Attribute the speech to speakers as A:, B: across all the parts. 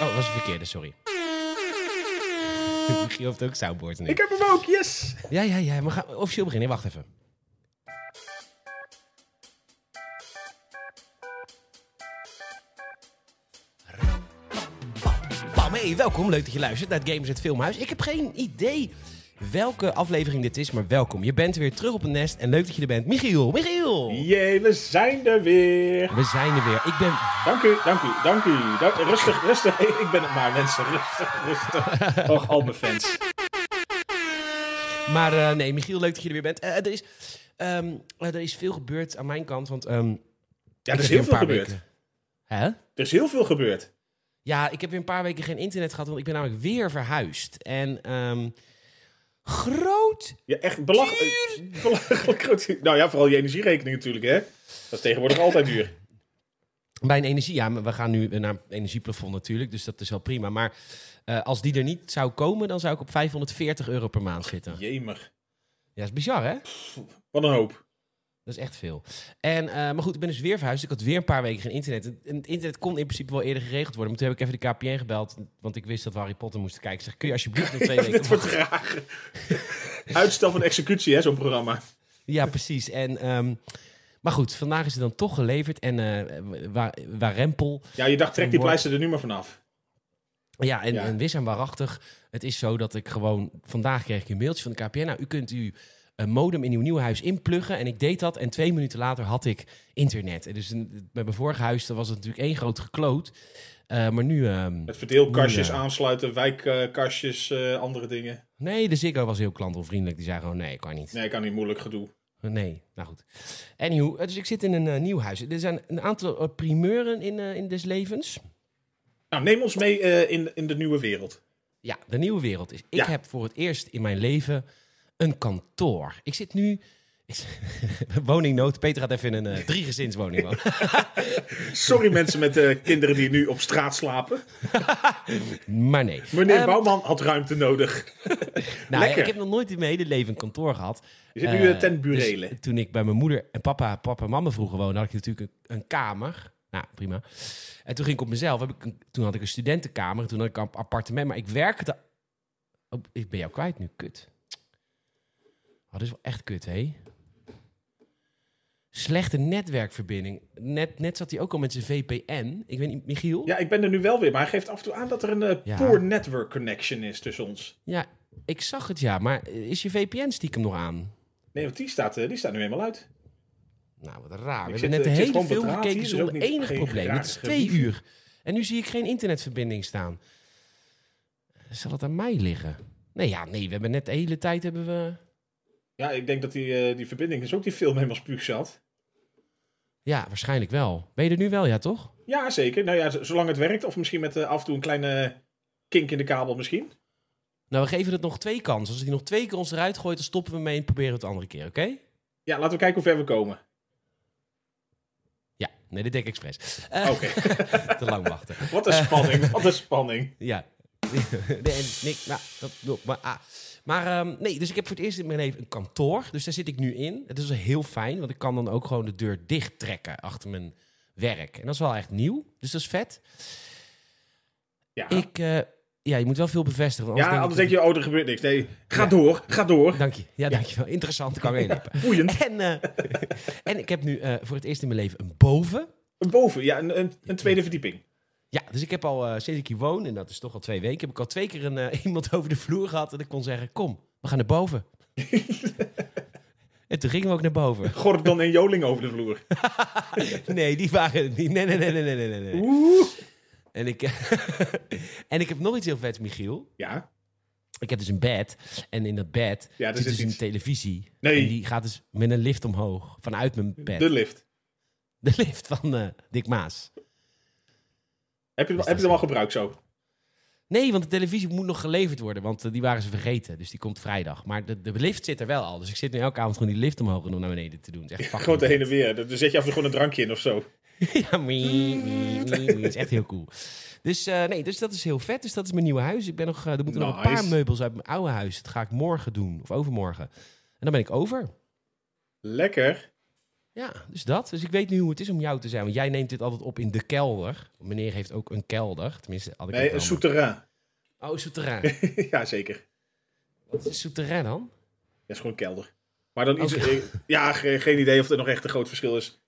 A: Oh, dat was een verkeerde, sorry. Michiel heeft ook soundboards nu.
B: Ik heb hem ook, yes!
A: Ja, ja, ja. We gaan officieel beginnen. Wacht even. Bam, hey, welkom. Leuk dat je luistert naar het Gamers het Filmhuis. Ik heb geen idee welke aflevering dit is, maar welkom. Je bent weer terug op het nest en leuk dat je er bent. Michiel, Michiel!
B: Jee, we zijn er weer!
A: We zijn er weer. Ik ben...
B: Dank u, dank u, dank u. Dank- rustig, rustig. Hey, Ik ben het maar, mensen. Rustig, rustig. Och, al mijn fans.
A: Maar eh, nee, Michiel, leuk dat je er weer bent. Eh, er, is, ehm, eh, er is veel gebeurd aan mijn kant, want... ehm,
B: Ja,
A: ik
B: er is
A: heb
B: heel
A: een
B: veel
A: paar
B: gebeurd.
A: weken- Hè?
B: Er is heel veel gebeurd.
A: Ja, ik heb weer een paar weken geen internet gehad, want ik ben namelijk weer verhuisd. En ehm, groot.
B: Ja, echt belachelijk. belachelijk groot. Nou ja, vooral je energierekening natuurlijk, hè? Dat is tegenwoordig altijd duur.
A: Bij een energie, ja, maar we gaan nu naar energieplafond natuurlijk, dus dat is wel prima. Maar eh, als die er niet zou komen, dan zou ik op 540 euro per maand zitten. Ja,
B: Jemig.
A: dat is bizar, hè?
B: Wat een hoop.
A: Dat is echt veel. En, eh, maar goed, ik ben dus weer verhuisd. Ik had weer een paar weken geen internet. En en het internet kon in principe wel eerder geregeld worden. Maar toen heb ik even de KPN gebeld, want ik wist dat we Harry Potter moesten kijken. Ik zeg, kun je alsjeblieft nog twee weken
B: Dit wordt raar. Uitstel van executie, hè, zo'n programma.
A: Ja, precies. En, ehm, maar goed, vandaag is het dan toch geleverd. En eh, Wa- Warempel.
B: Ja, je dacht, trek die pleister er nu maar vanaf.
A: Ja, en,
B: Ja.
A: en wis en waarachtig. Het is zo dat ik gewoon... Vandaag kreeg ik een mailtje van de KPN. Nou, u kunt uw eh, modem in uw nieuwe huis inpluggen. En ik deed dat. En twee minuten later had ik internet. En Dus een- bij mijn vorige huis dan was het natuurlijk één groot gekloot. Eh, maar nu... ehm,
B: Met verdeelkastjes
A: Ja.
B: aansluiten, wijkkastjes, eh, andere dingen.
A: nee, de Ziggo was heel klantonvriendelijk. Die zei gewoon, nee, kan niet.
B: Nee, kan niet moeilijk gedoe.
A: Nee, nou goed. Anywho, eh, dus ik zit in een eh, nieuw huis. Er zijn een aantal eh, primeuren in, eh, in des levens.
B: Nou, neem ons mee eh, in, in de nieuwe wereld.
A: Ja, de nieuwe wereld is. Ik
B: Ja.
A: heb voor het eerst in mijn leven een kantoor. Ik zit nu. Woningnood. Peter gaat even in een eh, driegezinswoning wonen.
B: Sorry mensen met eh, kinderen die nu op straat slapen.
A: maar nee.
B: Meneer
A: Ehm,
B: Bouwman had ruimte nodig.
A: nou,
B: lekker.
A: Ik heb nog nooit in mijn hele leven een kantoor gehad.
B: Je zit nu
A: Eh,
B: eh, ten burele.
A: dus toen ik bij mijn moeder en papa, papa en mama vroeger woonden, had ik natuurlijk een, een kamer. Nou, prima. En toen ging ik op mezelf. Heb ik een- toen had ik een studentenkamer. en Toen had ik een appartement. Maar ik werkte... Oh, ik ben jou kwijt nu. Kut. Oh, dat is wel echt kut, hé. Slechte netwerkverbinding. Net, net zat hij ook al met zijn VPN. Ik weet niet, Michiel?
B: Ja, ik ben er nu wel weer, maar hij geeft af en toe aan dat er een eh,
A: Ja.
B: poor network connection is tussen ons.
A: Ja, ik zag het, ja. Maar is je VPN stiekem nog aan?
B: Nee, want die staat, eh, die staat nu helemaal uit.
A: Nou, wat raar. We hebben
B: Ik zit-
A: net de
B: ik zit
A: hele
B: gewoon
A: film
B: betraat hier,
A: gekeken
B: dus
A: zonder
B: ook niet-
A: enig
B: geen
A: probleem. Het is
B: rare
A: twee
B: gebieden.
A: uur. En nu zie ik geen internetverbinding staan. Zal het aan mij liggen? Nee, ja, nee. We hebben net de hele tijd hebben we...
B: Ja, ik denk dat die, eh, die verbinding is ook die film helemaal spuug zat.
A: Ja, waarschijnlijk wel. Ben je er nu wel, ja, toch?
B: Ja, zeker. Nou ja, z- zolang het werkt. Of misschien met eh, af en toe een kleine kink in de kabel misschien.
A: Nou, we geven het nog twee kansen. Als hij nog twee keer ons eruit gooit, dan stoppen we mee en proberen we het andere keer, oké?
B: Ja, laten we kijken hoe ver we komen.
A: Ja, nee, dit denk ik expres. Eh,
B: Oké,
A: Te lang wachten.
B: wat een spanning, wat een spanning.
A: Ja. nee, en niks. Nou, dat, no, maar ah. maar ehm, nee, dus ik heb voor het eerst in mijn leven een kantoor. Dus daar zit ik nu in. Het is wel heel fijn, want ik kan dan ook gewoon de deur dicht trekken achter mijn werk. En dat is wel echt nieuw, dus dat is vet.
B: Ja,
A: Ik, eh, ja, je moet wel veel bevestigen. want
B: ja
A: ik
B: anders
A: dat
B: denk je, oh, er gebeurt niks. Nee, ga
A: Ja.
B: door, ga door.
A: ik- Dank je. Ja, dank je wel. Interessant, kan weer inlippen.
B: Boeiend.
A: En, eh, en ik heb nu eh, voor het eerst in mijn leven een boven.
B: Boven, ja, een, een, een tweede verdieping.
A: Ja, dus ik heb al, eh, sinds ik hier woon, en dat is toch al twee weken, heb ik al twee keer een, eh, iemand over de vloer gehad dat ik kon zeggen, kom, we gaan naar boven. en toen gingen we ook naar boven.
B: Gordon en Joling over de vloer.
A: Nee, die waren het niet. Nee, nee, nee, nee, nee, nee, nee. nee.
B: Oeh.
A: En ik, en ik heb nog iets heel vets, Michiel.
B: Ja,
A: Ik heb dus een bed. En in dat bed
B: Ja, er
A: zit
B: zit
A: dus
B: iets.
A: een televisie.
B: Nee.
A: En die gaat dus met een lift omhoog, vanuit mijn bed.
B: de lift.
A: De lift van eh Dick Maas.
B: Heb je,
A: Is dat
B: heb je
A: zo?
B: hem al gebruikt zo?
A: Nee, want de televisie moet nog geleverd worden, want eh, die waren ze vergeten. Dus die komt vrijdag. Maar de, de lift zit er wel al. Dus ik zit nu elke avond gewoon die lift omhoog en om naar beneden te doen. Het is echt fucking
B: Gewoon de
A: vet.
B: heen en weer. Dan dan zet je af en toe gewoon een drankje in of zo.
A: ja, mie, mie, mie, mie. Dat is echt heel cool. Dus, eh, nee, dus dat is heel vet. Dus dat is mijn nieuwe huis. Ik ben nog, eh, er moeten nog een
B: Nice.
A: paar meubels uit mijn oude huis. Dat ga ik morgen doen, of overmorgen. En dan ben ik over.
B: Lekker.
A: Ja, dus dat. Dus ik weet nu hoe het is om jou te zijn. Want jij neemt dit altijd op in de kelder. Meneer heeft ook een kelder. Tenminste, had ik het
B: Nee, een
A: wel.
B: souterrain.
A: Oh, souterrain.
B: ja, zeker.
A: Wat is een souterrain dan?
B: Dat is gewoon een kelder. Maar dan iets...
A: Oké.
B: eh, Ja, ge- geen idee of er nog echt een groot verschil is.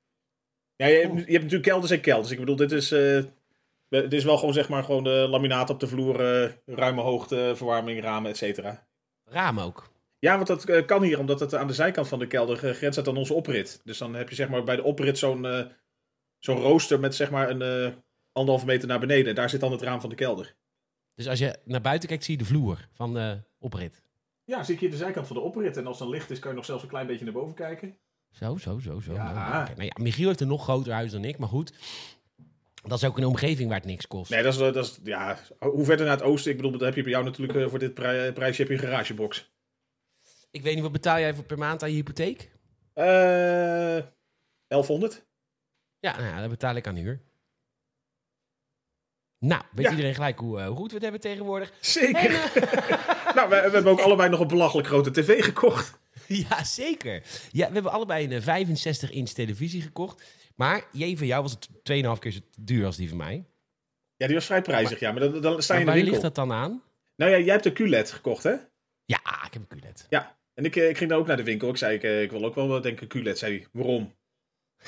B: Ja, je, hebt- je hebt natuurlijk kelders en kelders. Ik bedoel, dit is... eh, dit is wel gewoon, zeg maar, gewoon de laminaat op de vloer, eh, ruime hoogte, verwarming, ramen, et cetera.
A: Raam ook.
B: Ja, want dat eh, kan hier, omdat het aan de zijkant van de kelder eh, grenst het aan onze oprit. Dus dan heb je zeg maar bij de oprit zo'n eh, zo'n rooster met zeg maar een eh anderhalve meter naar beneden. En daar zit dan het raam van de kelder.
A: Dus als je naar buiten kijkt, zie je de vloer van de oprit.
B: Ja, zie ik hier de zijkant van de oprit. En als dan licht is, kan je nog zelfs een klein beetje naar boven kijken.
A: Zo, zo, zo, zo.
B: Ja.
A: Nou, oké. nou ja, Michiel heeft een nog groter huis dan ik, maar goed. Dat is ook een omgeving waar het niks kost.
B: Nee, dat is, eh, dat is ja, hoe verder naar het oosten. Ik bedoel, dat heb je bij jou natuurlijk eh, voor dit pri- prijsje heb je een garagebox.
A: Ik weet niet, wat betaal jij voor per maand aan je hypotheek?
B: Eh 1100?
A: Ja, nou, ja, dat betaal ik aan huur. Nou, weet
B: Ja.
A: iedereen gelijk hoe, eh, hoe goed we het hebben tegenwoordig?
B: Zeker. nou, we, we hebben ook allebei nog een belachelijk grote tv gekocht.
A: ja, zeker. Ja, we hebben allebei een 65-inch televisie gekocht. Maar jee, van jou was het 2,5 keer zo duur als die van mij.
B: Ja, die was vrij prijzig, ja. Maar dan, dan sta je
A: Maar
B: in
A: waar
B: de winkel.
A: ligt dat dan aan?
B: Nou ja, jij hebt de QLED gekocht, hè?
A: Ja, ik heb een QLED.
B: Ja, en ik, eh, ik ging daar ook naar de winkel. Ik zei, ik, eh, ik wil ook wel eh, denk ik een QLED. Zei hij, waarom?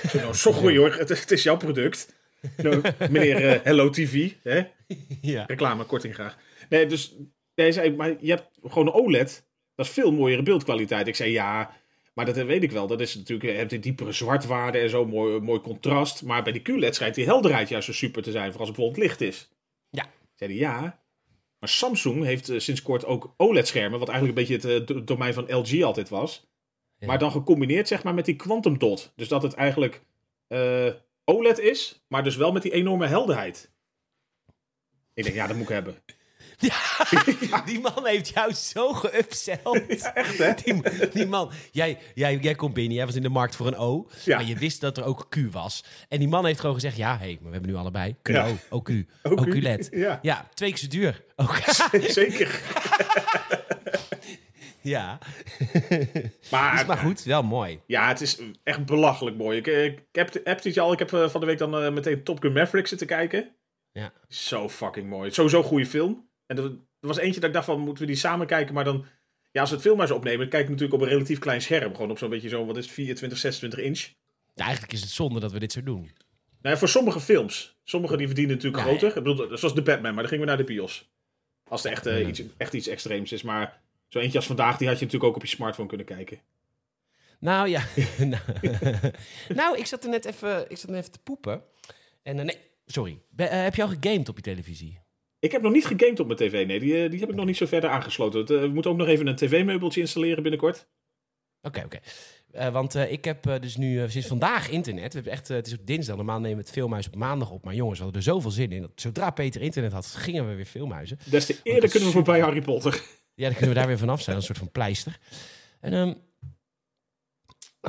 B: Ik zei, nou, sorry hoor, het, het is jouw product. Nou, meneer eh, Hello TV, hè?
A: ja.
B: reclame, korting graag. Nee, dus nee, hij zei, maar je hebt gewoon een OLED. Dat is veel mooiere beeldkwaliteit. Ik zei, ja, maar dat eh, weet ik wel. Dat is natuurlijk, eh, heb je diepere zwartwaarde en zo, mooi, mooi contrast. Maar bij die QLED schijnt die helderheid juist zo super te zijn, voor als het bijvoorbeeld licht is.
A: Ja.
B: Zei hij, ja. Maar Samsung heeft eh, sinds kort ook OLED-schermen, wat eigenlijk een beetje het eh, do- domein van LG altijd was.
A: Ja.
B: Maar dan gecombineerd zeg maar met die quantum dot. Dus dat het eigenlijk eh, OLED is, maar dus wel met die enorme helderheid. Ik denk, ja, dat moet ik hebben.
A: Die man heeft jou zo geupseld.
B: Echt, hè?
A: Die, die man, jij, jij, jij komt binnen, jij was in de markt voor een O.
B: Ja.
A: Maar je wist dat er ook Q was. En die man heeft gewoon gezegd, ja, hé, hey, maar we hebben nu allebei. QO,
B: Ja.
A: OQ,
B: OQ.
A: OQLED.
B: Ja.
A: ja, twee keer zo duur. Ook-
B: Zeker.
A: ja,
B: Maar,
A: is maar goed, wel mooi.
B: ja, het is echt belachelijk mooi. Ik, eh, ik heb, heb het je al, ik heb eh, van de week dan eh, meteen Top Gun Maverick zitten kijken.
A: Ja.
B: Zo fucking mooi. Sowieso een goede film. En er, er was eentje dat ik dacht van, moeten we die samen kijken? Maar dan, ja, als we het film maar eens opnemen, dan kijk ik natuurlijk op een relatief klein scherm. Gewoon op zo'n beetje zo'n, wat is het, 24, 26 inch.
A: Ja, eigenlijk is het zonde dat we dit zo doen.
B: Nou ja, voor sommige films. Sommige die verdienen natuurlijk
A: Ja,
B: groter. Ik bedoel, zoals de Batman, maar dan gingen we naar de bios. Als er echt, eh,
A: Ja.
B: iets, echt iets extreems is. Maar zo eentje als vandaag, die had je natuurlijk ook op je smartphone kunnen kijken.
A: Nou ja, nou, nou, ik zat er net even, ik zat net even te poepen. En eh, nee, sorry. Be- eh, heb je al gegamed op je televisie?
B: Ik heb nog niet gegamed op mijn tv. Nee, die, eh, die heb ik nog niet zo verder aangesloten. Het, eh, we moeten ook nog even een tv-meubeltje installeren binnenkort.
A: Oké, oké. Eh, want eh, ik heb eh, dus nu eh, sinds vandaag internet. We hebben echt, eh, het is op dinsdag. Normaal nemen we het filmhuis op maandag op. Maar jongens, we hadden er zoveel zin in. Dat zodra Peter internet had, gingen we weer filmhuizen.
B: Des te
A: dat
B: eerder
A: is
B: kunnen we
A: super.
B: voorbij Harry Potter.
A: Ja, dan kunnen we daar weer vanaf zijn. Een soort van pleister. En ehm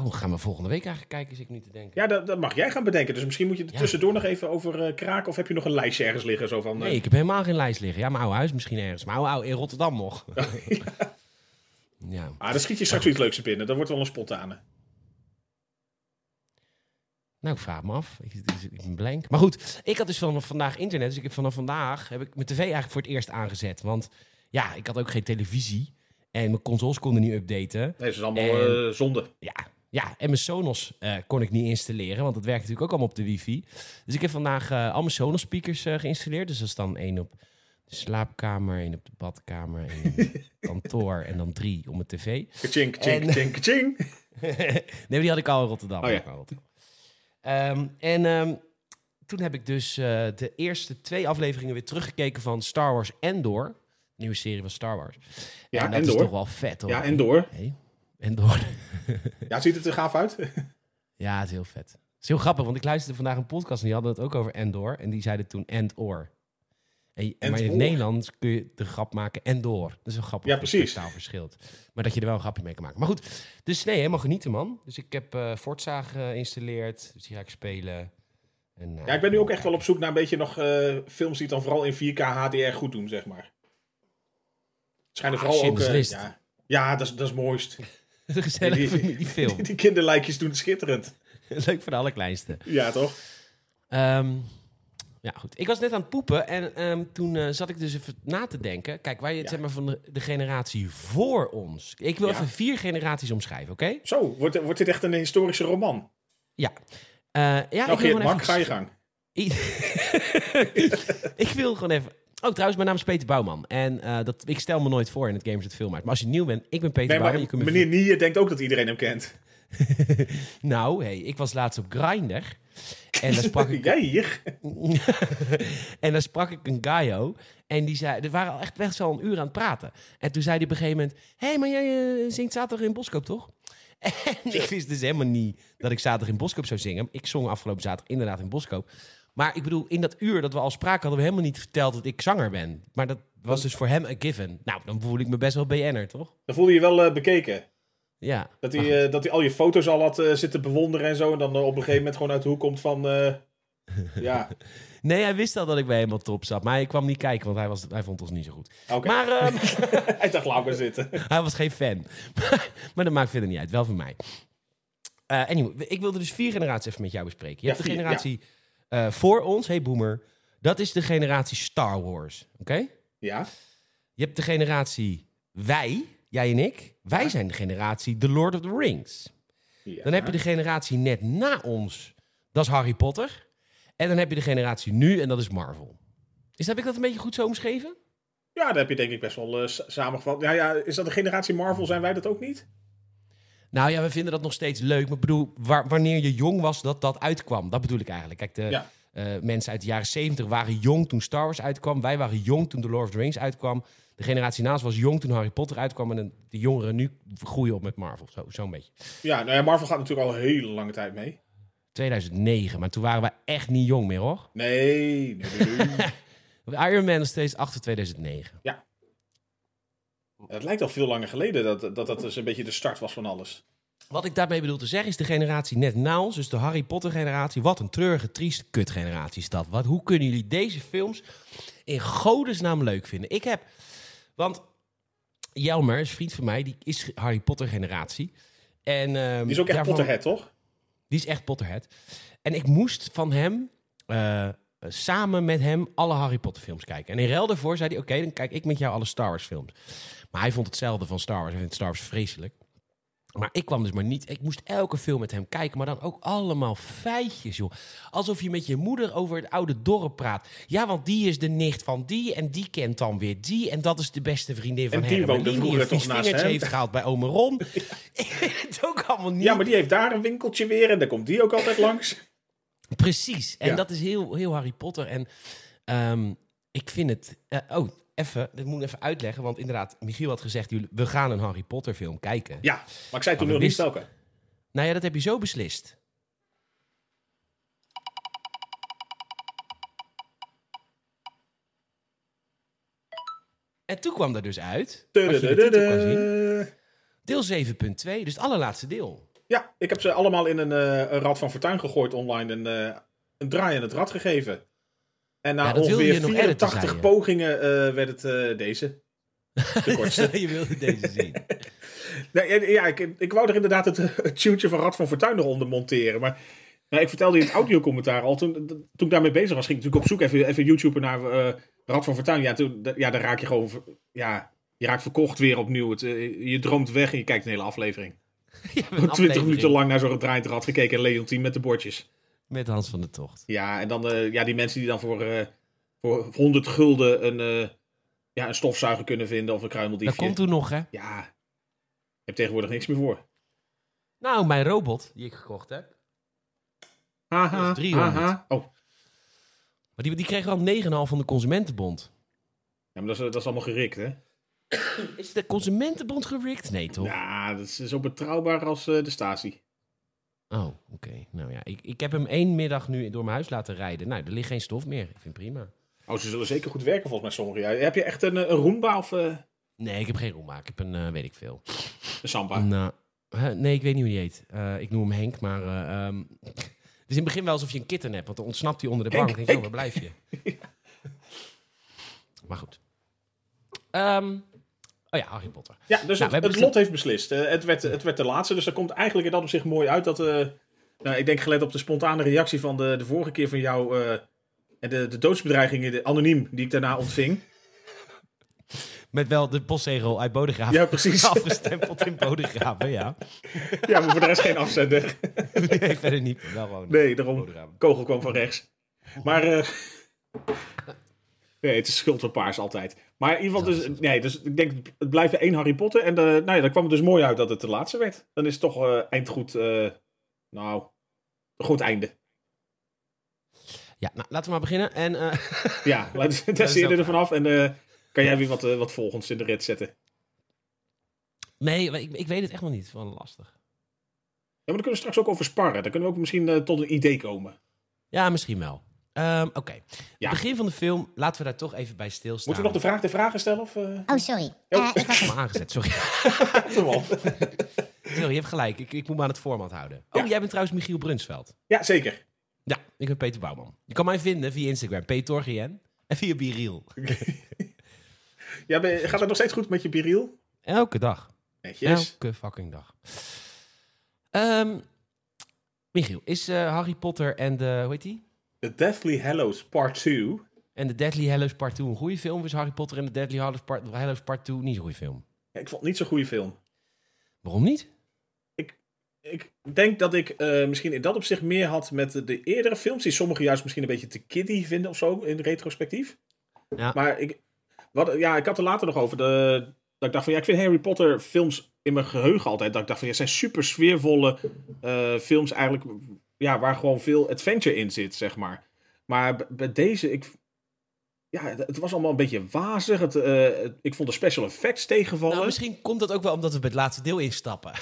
A: oh, gaan we volgende week eigenlijk kijken, is ik nu te denken.
B: Ja, dat, dat mag jij gaan bedenken. Dus misschien moet je er
A: Ja.
B: tussendoor nog even over eh, kraken. Of heb je nog een lijstje ergens liggen? Zo van, eh,
A: Nee, ik heb helemaal geen lijst liggen. Ja, mijn oude huis misschien ergens. Maar oude, oude in Rotterdam nog. ja.
B: Ah, dan schiet je straks iets leuks er binnen. Dat wordt wel een spontane.
A: Nou, ik vraag me af. Ik, ik- ik ben blank. Maar goed, ik had dus vanaf vandaag internet. Dus ik heb vanaf vandaag heb ik mijn tv eigenlijk voor het eerst aangezet. Want ja, ik had ook geen televisie. En mijn consoles konden niet updaten.
B: Nee, dat is allemaal
A: En-
B: eh, zonde.
A: Ja, ja en mijn Sonos eh, kon ik niet installeren. Want dat werkt natuurlijk ook allemaal op de wifi. Dus ik heb vandaag eh, al mijn Sonos speakers eh, geïnstalleerd. Dus dat is dan één op de slaapkamer, één op de badkamer, één op het kantoor. En dan drie om mijn tv.
B: Kaching,
A: En-
B: kaching, kaching, kaching.
A: nee, maar die had ik al in Rotterdam.
B: Oh,
A: Die
B: ja.
A: had ik al in Rotterdam. Ehm, en ehm, toen heb ik dus eh, de eerste twee afleveringen weer teruggekeken van Star Wars Endor. Nieuwe serie van Star Wars.
B: Ja,
A: en dat is
B: Endor.
A: toch wel vet hoor.
B: Ja, en door.
A: Hey, Endor.
B: Ja, ziet het er gaaf uit?
A: ja, het is heel vet. Het is heel grappig, want ik luisterde vandaag een podcast en die hadden het ook over Endor. En die zeiden toen Endor. En, en maar in het
B: Endor.
A: Nederlands kun je de grap maken Endor. Dat is wel grappig.
B: Ja,
A: dat
B: precies.
A: de taal verschilt. Maar dat je er wel een grapje mee kan maken. Maar goed, dus nee, helemaal genieten man. Dus ik heb eh Forza geïnstalleerd. Dus die ga ik spelen. En, eh,
B: Ja, ik ben nu ook echt wel op zoek naar een beetje nog eh, films die het dan vooral in 4K HDR goed doen, zeg maar. Het schijnen
A: Ah,
B: vooral ook...
A: Schindler's
B: eh,
A: List.
B: ja, ja dat, is, dat is het mooist.
A: Een gezellige
B: Die- die-
A: familiefilm.
B: Die kinderlijkjes doen het schitterend.
A: Leuk voor de allerkleinste.
B: Ja, toch?
A: Ehm, ja, goed. Ik was net aan het poepen en ehm, toen eh, zat ik dus even na te denken. Kijk, wij
B: Ja.
A: zeg maar van de, de generatie voor ons. Ik wil
B: Ja.
A: even vier generaties omschrijven, oké?
B: Zo, wordt, wordt dit echt een historische roman?
A: Ja. Eh, ja,
B: nou,
A: ik wil
B: Geert,
A: gewoon
B: Mak,
A: even...
B: ga je gang.
A: I- ik wil gewoon even... Oh, trouwens, mijn naam is Peter Bouwman. En eh, dat, ik stel me nooit voor in het Gamers het Film uit. Maar als je nieuw bent, ik ben Peter
B: Nee, maar
A: Bouwman. Je kunt me
B: meneer Nier denkt ook dat iedereen hem kent.
A: Nou, hey, ik was laatst op Grindr. En daar sprak ik,
B: Jij hier?
A: en daar sprak ik een gaio. En die zei, er waren al echt best wel een uur aan het praten. En toen zei hij op een gegeven moment... Hé, hey, maar jij eh, zingt zaterdag in Boskoop, toch? En ik wist dus helemaal niet dat ik zaterdag in Boskoop zou zingen. Ik zong afgelopen zaterdag inderdaad in Boskoop. Maar ik bedoel, in dat uur dat we al spraken... hadden we helemaal niet verteld dat ik zanger ben. Maar dat was dus voor hem een given. Nou, dan voel ik me best wel BN'er, toch?
B: Dan voelde je wel eh, bekeken.
A: Ja.
B: Dat hij, eh, dat hij al je foto's al had eh, zitten bewonderen en zo. En dan eh, op een gegeven moment gewoon uit de hoek komt van... eh, ja,
A: Nee, hij wist al dat ik bij helemaal top zat. Maar hij kwam niet kijken, want hij, was, hij vond ons niet zo goed.
B: oké.
A: Maar... ehm,
B: Hij dacht, laat maar zitten.
A: Hij was geen fan. Maar, maar dat maakt verder niet uit. Wel voor mij. Eh, anyway, ik wilde dus vier generaties even met jou bespreken. Je
B: Ja,
A: hebt de
B: vier,
A: generatie eh, voor ons, hey boomer. Dat is de generatie Star Wars. Oké?
B: Ja,
A: Je hebt de generatie wij, jij en ik. Wij zijn de generatie The Lord of the Rings.
B: ja.
A: Dan heb je de generatie net na ons. Dat is Harry Potter. En dan heb je de generatie nu en dat is Marvel. Is, heb ik dat een beetje goed zo omschreven?
B: ja, dat heb je denk ik best wel eh, s- samengevat. Nou ja, is dat de generatie Marvel? Zijn wij dat ook niet?
A: Nou ja, we vinden dat nog steeds leuk. Maar ik bedoel, wa- wanneer je jong was, dat dat uitkwam. Dat bedoel ik eigenlijk. Kijk, de
B: Ja.
A: eh, mensen uit de jaren 70 waren jong toen Star Wars uitkwam. Wij waren jong toen The Lord of the Rings uitkwam. De generatie naast was jong toen Harry Potter uitkwam. En de- de jongeren nu groeien op met Marvel. Zo, zo'n beetje.
B: Ja, nou ja, Marvel gaat natuurlijk al een hele lange tijd mee.
A: 2009, maar toen waren we echt niet jong meer, hoor.
B: Nee, nee, nee, nee.
A: Iron Man is steeds achter 2009.
B: Het lijkt al veel langer geleden dat dat, dat dus een beetje de start was van alles.
A: Wat ik daarmee bedoel te zeggen is de generatie net na ons, dus de Harry Potter generatie. Wat een treurige, trieste kutgeneratie is dat. Wat, hoe kunnen jullie deze films in godesnaam leuk vinden? Ik heb, want Jelmer is een vriend van mij, die is Harry Potter generatie. En, ehm,
B: Die is ook echt
A: daarvan-
B: Potterhead, toch?
A: Die is echt Potterhead. En ik moest van hem, eh, samen met hem, alle Harry Potter films kijken. En in ruil daarvoor zei hij, oké, dan kijk ik met jou alle Star Wars films. Maar hij vond hetzelfde van Star Wars. Hij vindt Star Wars vreselijk. Maar ik kwam dus maar niet. Ik moest elke film met hem kijken, maar dan ook allemaal feitjes, joh. Alsof je met je moeder over het oude dorp praat. Ja, want die is de nicht van die en die kent dan weer die. En dat is de beste vriendin van
B: En die
A: Herman
B: woonde
A: die
B: vroeger
A: een vies
B: toch naast
A: vingertje
B: hem?
A: heeft gehaald bij ome Ron. Ik weet het ook allemaal niet.
B: Ja, maar die heeft daar een winkeltje weer en daar komt die ook altijd langs.
A: Precies. En
B: Ja.
A: dat is heel, heel Harry Potter. En ehm, ik vind het. eh, oh, even. Dit moet ik even uitleggen. Want inderdaad, Michiel had gezegd: jullie- we gaan een Harry Potter film kijken.
B: Ja, maar ik zei toen
A: Maar
B: nog
A: we
B: niet welke.
A: Nou ja, dat heb je zo beslist. En toen kwam er dus uit. als je de titel kan zien,
B: Tududududu.
A: Deel 7.2, dus het allerlaatste deel.
B: Ja, ik heb ze allemaal in een, eh, een rad van fortuin gegooid online en eh, een draai aan het rad gegeven. En na
A: Ja, dat wil
B: ongeveer
A: je nog editen,
B: 84
A: zei je.
B: pogingen eh, werd het eh, deze. De kortste.
A: je wilde deze zien.
B: nee, ja, ja, ik, ik wou er inderdaad het, het tuentje van Rad van Fortuin nog onder monteren. Maar nou, ik vertelde in het audiocommentaar al, toen, toen ik daarmee bezig was, ging ik natuurlijk op zoek even, even YouTuber naar eh, Rad van Fortuin. Ja, toen, ja, dan raak je gewoon, ver- ja, je raakt verkocht weer opnieuw. Het, eh, je droomt weg en je kijkt een hele aflevering.
A: Je hebt een
B: 20
A: aflevering
B: minuten lang naar zo'n draaiend rad gekeken en Leontien met de bordjes.
A: Met Hans van de Tocht.
B: Ja, en dan eh, ja, die mensen die dan voor, eh, voor 100 gulden een, eh, ja, een stofzuiger kunnen vinden of een
A: Dat
B: kruimeldiefje.
A: komt toen nog, hè?
B: Ja, je hebt tegenwoordig niks meer voor.
A: Nou, mijn robot die ik gekocht heb.
B: Haha,
A: Dat is 300.
B: haha. Oh,
A: Maar die, die kreeg al 9,5 van de Consumentenbond.
B: ja, maar dat is, dat is allemaal gerikt, hè?
A: Is de Consumentenbond gerikt? Nee, toch?
B: Ja, dat is zo betrouwbaar als eh, de statie.
A: Oh, oké. Nou ja, ik, ik heb hem één middag nu door mijn huis laten rijden. Nou, er ligt geen stof meer. Ik vind het prima.
B: Oh, ze zullen zeker goed werken volgens mij sommigen. Ja, heb je echt een, eh, een Roomba of eh,
A: Nee, ik heb geen roemmaak. Ik heb een, eh, weet ik veel.
B: een Samba?
A: Een, eh, hè, nee, ik weet niet hoe die heet. Eh, ik noem hem Henk, maar... eh, ehm, het is in het begin wel alsof je een kitten hebt. Want dan ontsnapt hij onder de
B: Henk,
A: bank. Dan denk je, oh, waar
B: Henk.
A: blijf je? Maar goed. Ehm, oh ja, Harry Potter.
B: Ja, dus
A: Nou, we
B: het,
A: hebben
B: het
A: dus-
B: lot heeft beslist. Eh, het, werd, het werd de laatste, dus dat komt eigenlijk in dat opzicht mooi uit dat, eh, Nou, ik denk gelet op de spontane reactie van de, de vorige keer van jou eh, en de, de doodsbedreigingen de, anoniem die ik daarna ontving.
A: Met wel de postzegel uit Bodegraven.
B: Ja, precies.
A: Afgestempeld in Bodegraven, ja.
B: Ja, maar voor de rest geen afzender.
A: Nee, verder niet. Wel gewoon
B: Nee, daarom.
A: Bodegraven.
B: Kogel kwam van rechts. Maar. eh, nee, het is schuld van paars altijd. Maar in ieder geval, dus, nee, dus ik denk, het blijft één Harry Potter. En eh nou ja, dan kwam het dus mooi uit dat het de laatste werd. Dan is het toch eh, eindgoed. eh, nou, een goed einde.
A: Ja, nou, laten we maar beginnen. En eh,
B: Ja, laten
A: dat is
B: we
A: ook
B: er ervan af. En eh, kan jij weer wat, eh, wat volgens in de rit zetten?
A: nee, maar ik, ik weet het echt nog niet. Wel lastig.
B: Ja, maar dan kunnen we straks ook over sparren. Dan kunnen we ook misschien eh, tot een idee komen.
A: Ja, misschien wel. Ehm, Oké.
B: Ja.
A: Begin van de film, laten we daar toch even bij stilstaan.
B: Moeten we nog de vraag de vragen stellen? Of, eh
C: Oh, sorry. Eh,
B: Oh.
C: ik was
A: Maar aangezet, sorry.
B: Kom op.
A: Sorry, je hebt gelijk. Ik, ik moet me aan het format houden. Oh,
B: Ja.
A: jij bent trouwens Michiel Brunsveld.
B: ja, zeker.
A: Ja, ik ben Peter Bouwman. Je kan mij vinden via Instagram, Petorgien. En via Biriel.
B: Ja, ben- gaat het nog steeds goed met je biriel?
A: Elke dag.
B: Netjes.
A: Elke fucking dag. Ehm, Michiel, is eh, Harry Potter en de, hoe heet die?
B: The Deathly Hallows Part 2.
A: En de Deadly Hallows Part 2 een goede film? Of is Harry Potter en de Deadly Hallows Part, Hallows Part 2 niet zo'n goede film?
B: Ja, ik vond het niet zo'n goede film.
A: Waarom niet?
B: Ik denk dat ik eh, misschien in dat opzicht meer had met de, de eerdere films, die sommigen juist misschien een beetje te kiddie vinden of zo, in retrospectief.
A: Ja.
B: Maar ik, wat, ja, ik had er later nog over. De, dat ik dacht van ja, ik vind Harry Potter films in mijn geheugen altijd. Dat ik dacht van ja, het zijn super sfeervolle eh, films eigenlijk. Ja, waar gewoon veel adventure in zit, zeg maar. Maar b- bij deze, ik. Ja, het, het was allemaal een beetje wazig. Het, eh, het- ik vond de special effects tegenvallen.
A: Nou, misschien komt dat ook wel omdat we bij het laatste deel instappen.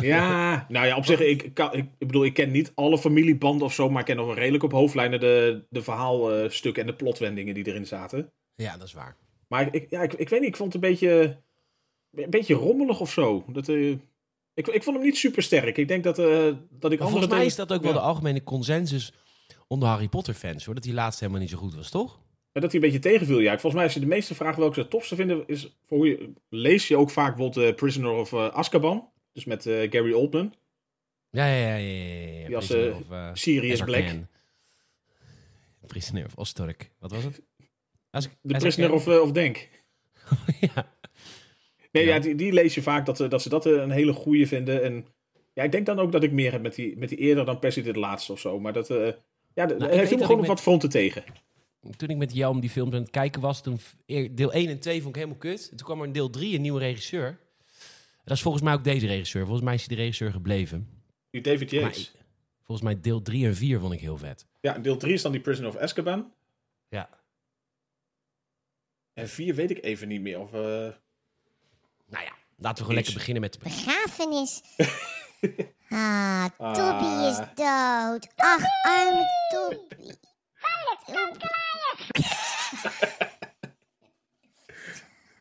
B: Ja, nou ja, op zich, ik, ik, kan- ik, ik bedoel, ik ken niet alle familiebanden of zo, maar ik ken nog wel redelijk op hoofdlijnen de, de verhaalstukken en de plotwendingen die erin zaten.
A: ja, dat is waar.
B: Maar ik, ja, ik, ik weet niet, ik vond het een beetje, een beetje rommelig of zo. Dat, eh, ik, ik vond hem niet super sterk. Ik denk dat, eh, dat ik
A: Maar
B: andere
A: volgens mij
B: dingen-
A: is dat ook wel
B: Ja.
A: de algemene consensus onder Harry Potter fans, hoor. Dat die laatste helemaal niet zo goed was, toch?
B: Ja, dat hij een beetje tegenviel. Ja, volgens mij als je de meeste vragen welke ze het topste vinden, is voor hoe je, lees je ook vaak bijvoorbeeld eh, Prisoner of eh, Azkaban. Dus met eh, Gary Oldman,
A: Ja, ja, ja. ja, ja, ja.
B: Die als,
A: Prisoner
B: eh,
A: of, eh,
B: Sirius
A: Ezra
B: Black.
A: Khan. Prisoner of Osturk. Wat was het? Als ik-
B: De
A: Ezra
B: Prisoner
A: Khan?
B: of, eh, of Denk.
A: ja.
B: Nee, ja,
A: Ja.
B: die, die lees je vaak dat, eh, dat ze dat eh, een hele goeie vinden. En ja, ik denk dan ook dat ik meer heb met die, met die eerder dan per se dit laatste of zo. Maar dat, eh, ja, de-
A: weet
B: hij
A: dat
B: viel me
A: Nou, ik
B: gewoon op
A: met-
B: wat fronten tegen.
A: Toen ik met jou om die films aan het kijken was, toen v- eer- deel 1 en 2 vond ik helemaal kut. En toen kwam er in deel 3 een nieuwe regisseur. En dat is volgens mij ook deze regisseur. Volgens mij is hij de regisseur gebleven.
B: Die David
A: Maar
B: Yates.
A: ik- volgens mij deel 3 en 4 vond ik heel vet.
B: Ja, deel 3 is dan die Prisoner of Azkaban.
A: Ja.
B: En 4 weet ik even niet meer. Of, eh,
A: Nou ja, laten we gewoon lekker beginnen met... de-
C: begrafenis. Ah, Toby
B: Ah.
C: is dood. Ach, arme Toby. Toby.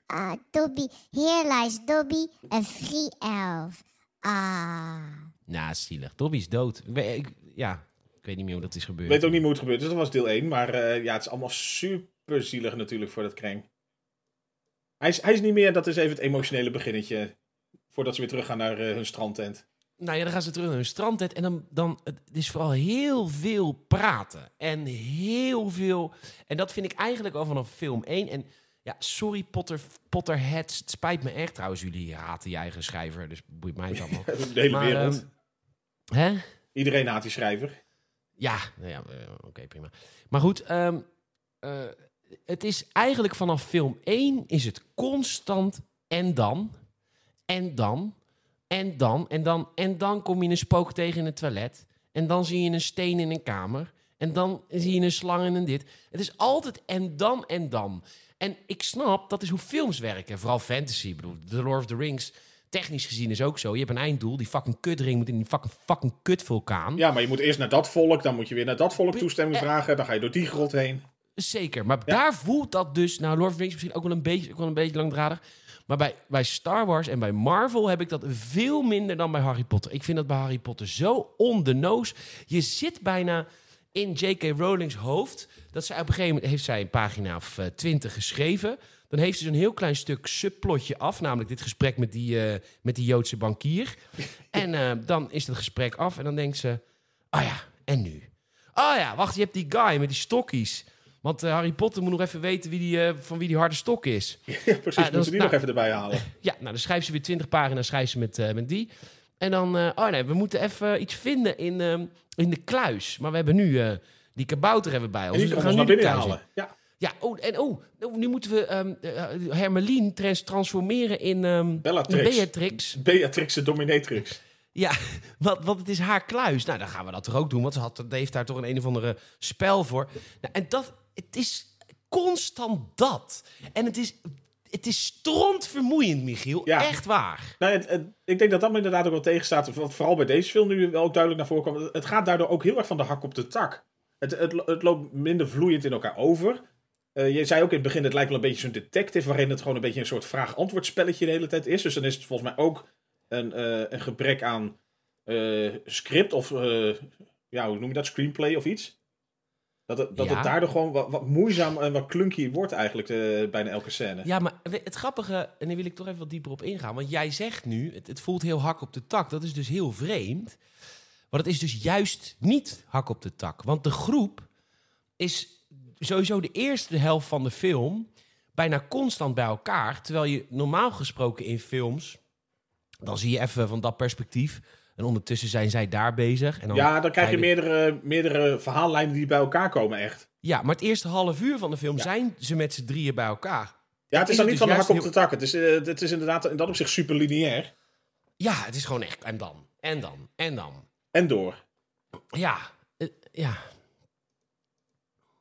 C: Ah, Toby. Here lies Dobby, a free elf. Ah.
A: Nou, zielig. Dobby is dood. Ik, weet- ik- ja, ik weet niet meer hoe dat is gebeurd.
B: ik weet ook niet meer hoe het gebeurt. Dus dat was deel 1. Maar eh, ja, het is allemaal super zielig natuurlijk voor dat kreng. Hij is, hij is niet meer, dat is even het emotionele beginnetje. Voordat ze weer teruggaan naar eh, hun strandtent.
A: Nou ja, dan gaan ze terug naar hun strandtent. En dan, dan het is vooral heel veel praten. En heel veel... En dat vind ik eigenlijk al vanaf film 1. En ja, sorry Potter, Potterheads. Het spijt me echt trouwens. Jullie haten je eigen schrijver. Dus boeit mij het allemaal.
B: De hele
A: Maar,
B: wereld.
A: ehm, hè?
B: Iedereen haat die schrijver.
A: Ja, nou ja eh, oké, prima. Maar goed, ehm, eh, het is eigenlijk vanaf film 1 is het constant en dan, en dan, en dan, en dan, en dan kom je een spook tegen in het toilet. En dan zie je een steen in een kamer. En dan zie je een slang en een dit. Het is altijd en dan, en dan. En ik snap, dat is hoe films werken. Vooral fantasy. Ik bedoel, The Lord of the Rings, technisch gezien is ook zo. Je hebt een einddoel, die fucking kutring moet in die fucking, fucking kutvulkaan.
B: Ja, maar je moet eerst naar dat volk, dan moet je weer naar dat volk toestemming
A: Eh.
B: vragen, dan ga je door die grot heen.
A: Zeker, maar daar voelt dat dus... Nou, Lord of the Rings misschien ook wel een beetje, ook wel een beetje langdradig. Maar bij, bij Star Wars en bij Marvel heb ik dat veel minder dan bij Harry Potter. Ik vind dat bij Harry Potter zo on the nose. Je zit bijna in J.K. Rowling's hoofd. Dat zij op een gegeven moment heeft zij een pagina of eh, twintig geschreven. Dan heeft ze zo'n heel klein stuk subplotje af. Namelijk dit gesprek met die, eh, met die Joodse bankier. en eh, dan is dat gesprek af en dan denkt ze... Ah ja, en nu? Ah ja, wacht, je hebt die guy met die stokjes. Want eh, Harry Potter moet nog even weten wie die, eh, van wie die harde stok is.
B: Ja,
A: dat
B: precies. moeten
A: is-
B: ze die
A: nou.
B: nog even erbij halen.
A: Ja, nou, dan schrijft ze weer 20 pagina's schrijft ze met, eh, met die. En dan, eh, oh nee, we moeten even iets vinden in, ehm, in de kluis. Maar we hebben nu eh, die kabouter hebben we bij ons.
B: En die
A: dus
B: kan
A: we
B: ons
A: gaan
B: naar
A: nu de
B: binnen
A: kluis in.
B: halen. Ja.
A: Ja, oh, en oh, oh, nu moeten we ehm eh, Hermelien trans- transformeren in ehm,
B: Bellatrix.
A: in Beatrix.
B: Beatrix de Dominatrix.
A: Ja, want, want het is haar kluis. Nou, dan gaan we dat toch ook doen, want ze had, die heeft daar toch een, een of andere spel voor. Nou, en dat, het is constant dat. En het is, het is stront vermoeiend, Michiel.
B: Ja.
A: Echt waar.
B: Nou, het, het- ik denk dat dat me inderdaad ook wel tegenstaat. Wat vooral bij deze film nu wel ook duidelijk naar voren kwam. Het- Het gaat daardoor ook heel erg van de hak op de tak. Het, het, lo- het loopt minder vloeiend in elkaar over. Eh, je zei ook in het begin, het lijkt wel een beetje zo'n detective... waarin het gewoon een beetje een soort vraag-antwoord spelletje de hele tijd is. Dus dan is het volgens mij ook een, eh, een gebrek aan eh, script of... eh, ja, hoe noem je dat? Screenplay of iets? Dat het, dat
A: Ja.
B: het daardoor gewoon wat, wat moeizaam en wat clunky wordt eigenlijk eh, bijna elke scène.
A: Ja, maar we- het grappige, en daar wil ik toch even wat dieper op ingaan. Want jij zegt nu, het, het voelt heel hak op de tak. Dat is dus heel vreemd. Maar het is dus juist niet hak op de tak. Want de groep is sowieso de eerste helft van de film bijna constant bij elkaar. Terwijl je normaal gesproken in films, dan zie je even van dat perspectief. En ondertussen zijn zij daar bezig. En dan
B: Ja, dan krijg je
A: ga weer-
B: meerdere, meerdere verhaallijnen die bij elkaar komen, echt.
A: Ja, maar het eerste half uur van de film
B: Ja.
A: zijn ze met z'n drieën bij elkaar.
B: Ja,
A: is
B: het
A: het
B: is dan niet
A: dus
B: van de
A: juist
B: hak op
A: heel-
B: de tak. Het is, eh, het is inderdaad in dat opzicht super lineair.
A: Ja, het is gewoon echt. En dan, en dan, en dan.
B: En door.
A: Ja, eh, ja.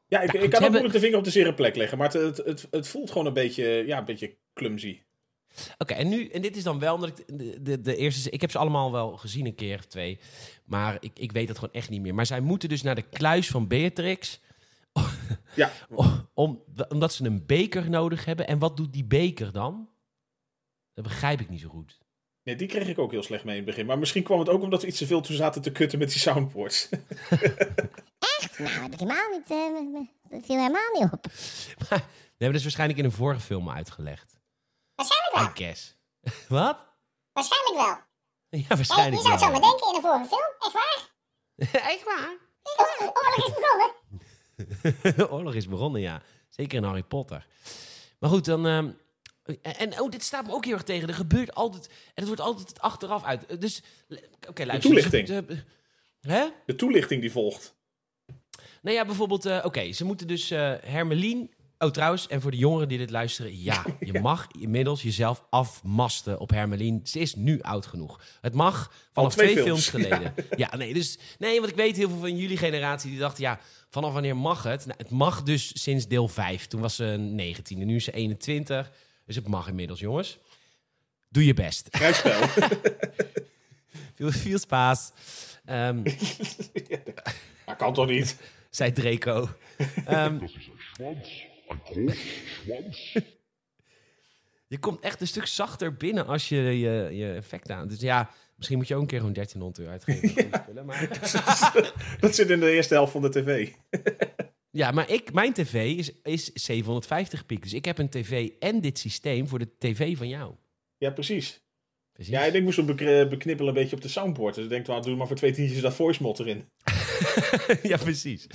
B: Ja, ik,
A: goed,
B: ik kan
A: ze
B: ook
A: hebben-
B: moeilijk de vinger op de zere plek leggen, maar het, het, het, het voelt gewoon een beetje, ja, een beetje clumsy.
A: Oké, en nu, en dit is dan wel, omdat ik de, de, de eerste, ik heb ze allemaal wel gezien een keer of twee, maar ik, ik weet dat gewoon echt niet meer. Maar zij moeten dus naar de kluis van Beatrix,
B: Ja,
A: om- om, omdat ze een beker nodig hebben. En wat doet die beker dan? Dat begrijp ik niet zo goed.
B: nee, die kreeg ik ook heel slecht mee in het begin. Maar misschien kwam het ook omdat we iets te veel toen zaten te kutten met die soundboards.
C: Echt? Nou, heb ik helemaal niet. eh, dat viel helemaal niet op.
A: Maar, we hebben dus waarschijnlijk in een vorige film uitgelegd.
D: Waarschijnlijk wel.
A: I guess. wat?
D: Waarschijnlijk wel.
A: Ja,
D: Hey, je
A: waarschijnlijk
D: zou het zo
A: wel.
D: bedenken in een vorige film. Echt waar?
A: Echt waar?
D: De oorlog is begonnen.
A: De oorlog is begonnen, ja. Zeker in Harry Potter. Maar goed, dan. ehm, en, en oh, dit staat me ook heel erg tegen. Er gebeurt altijd. En het wordt altijd achteraf uit. Dus. Oké, luister.
B: toelichting.
A: Dus, eh, hè?
B: De toelichting die volgt.
A: Nou ja, bijvoorbeeld. eh, Oké, ze moeten dus eh Hermelien. Oh, trouwens, en voor de jongeren die dit luisteren, ja, je mag inmiddels jezelf afmasten op Hermelien. Ze is nu oud genoeg. Het mag vanaf
B: twee
A: twee, films,
B: films,
A: geleden. Ja. nee, dus, nee, want ik weet heel veel van jullie generatie die dachten, ja, vanaf wanneer mag het? Nou, het mag dus sinds deel 5. Toen was ze 19 en nu is ze 21. Dus het mag inmiddels, jongens. Doe je best.
B: Kruisspel.
A: Veel, veel spaas. Ehm,
B: dat kan toch niet?
A: zei Draco. Ehm,
E: Das ist ein Schwanz. Ein großer Schwanz.
A: Je komt echt een stuk zachter binnen als je je, je effect aan. Dus ja, misschien moet je ook een keer gewoon 1300 euro uitgeven. Ja, maar,
B: Dat zit in de eerste helft van de tv.
A: ja, maar ik, mijn tv is, is 750 piek. Dus ik heb een tv en dit systeem voor de tv van jou.
B: Ja, precies.
A: Precies.
B: Ja, ik denk ik moest hem bekre- beknippelen een beetje op de soundboard. Dus ik denk, nou, doe maar voor twee tientjes dat voice mod erin.
A: ja, precies.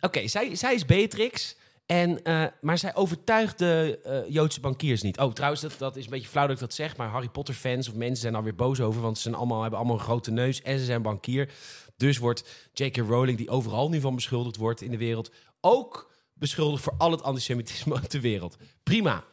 A: Oké, zij, zij is Beatrix. En, eh, maar zij overtuigt de eh, Joodse bankiers niet. Oh, trouwens, dat, dat is een beetje flauw dat ik dat zeg. Maar Harry Potter fans of mensen zijn alweer boos over. Want ze zijn allemaal, hebben allemaal een grote neus en ze zijn bankier. Dus wordt J.K. Rowling, die overal nu van beschuldigd wordt in de wereld... ook beschuldigd voor al het antisemitisme op de wereld. Prima.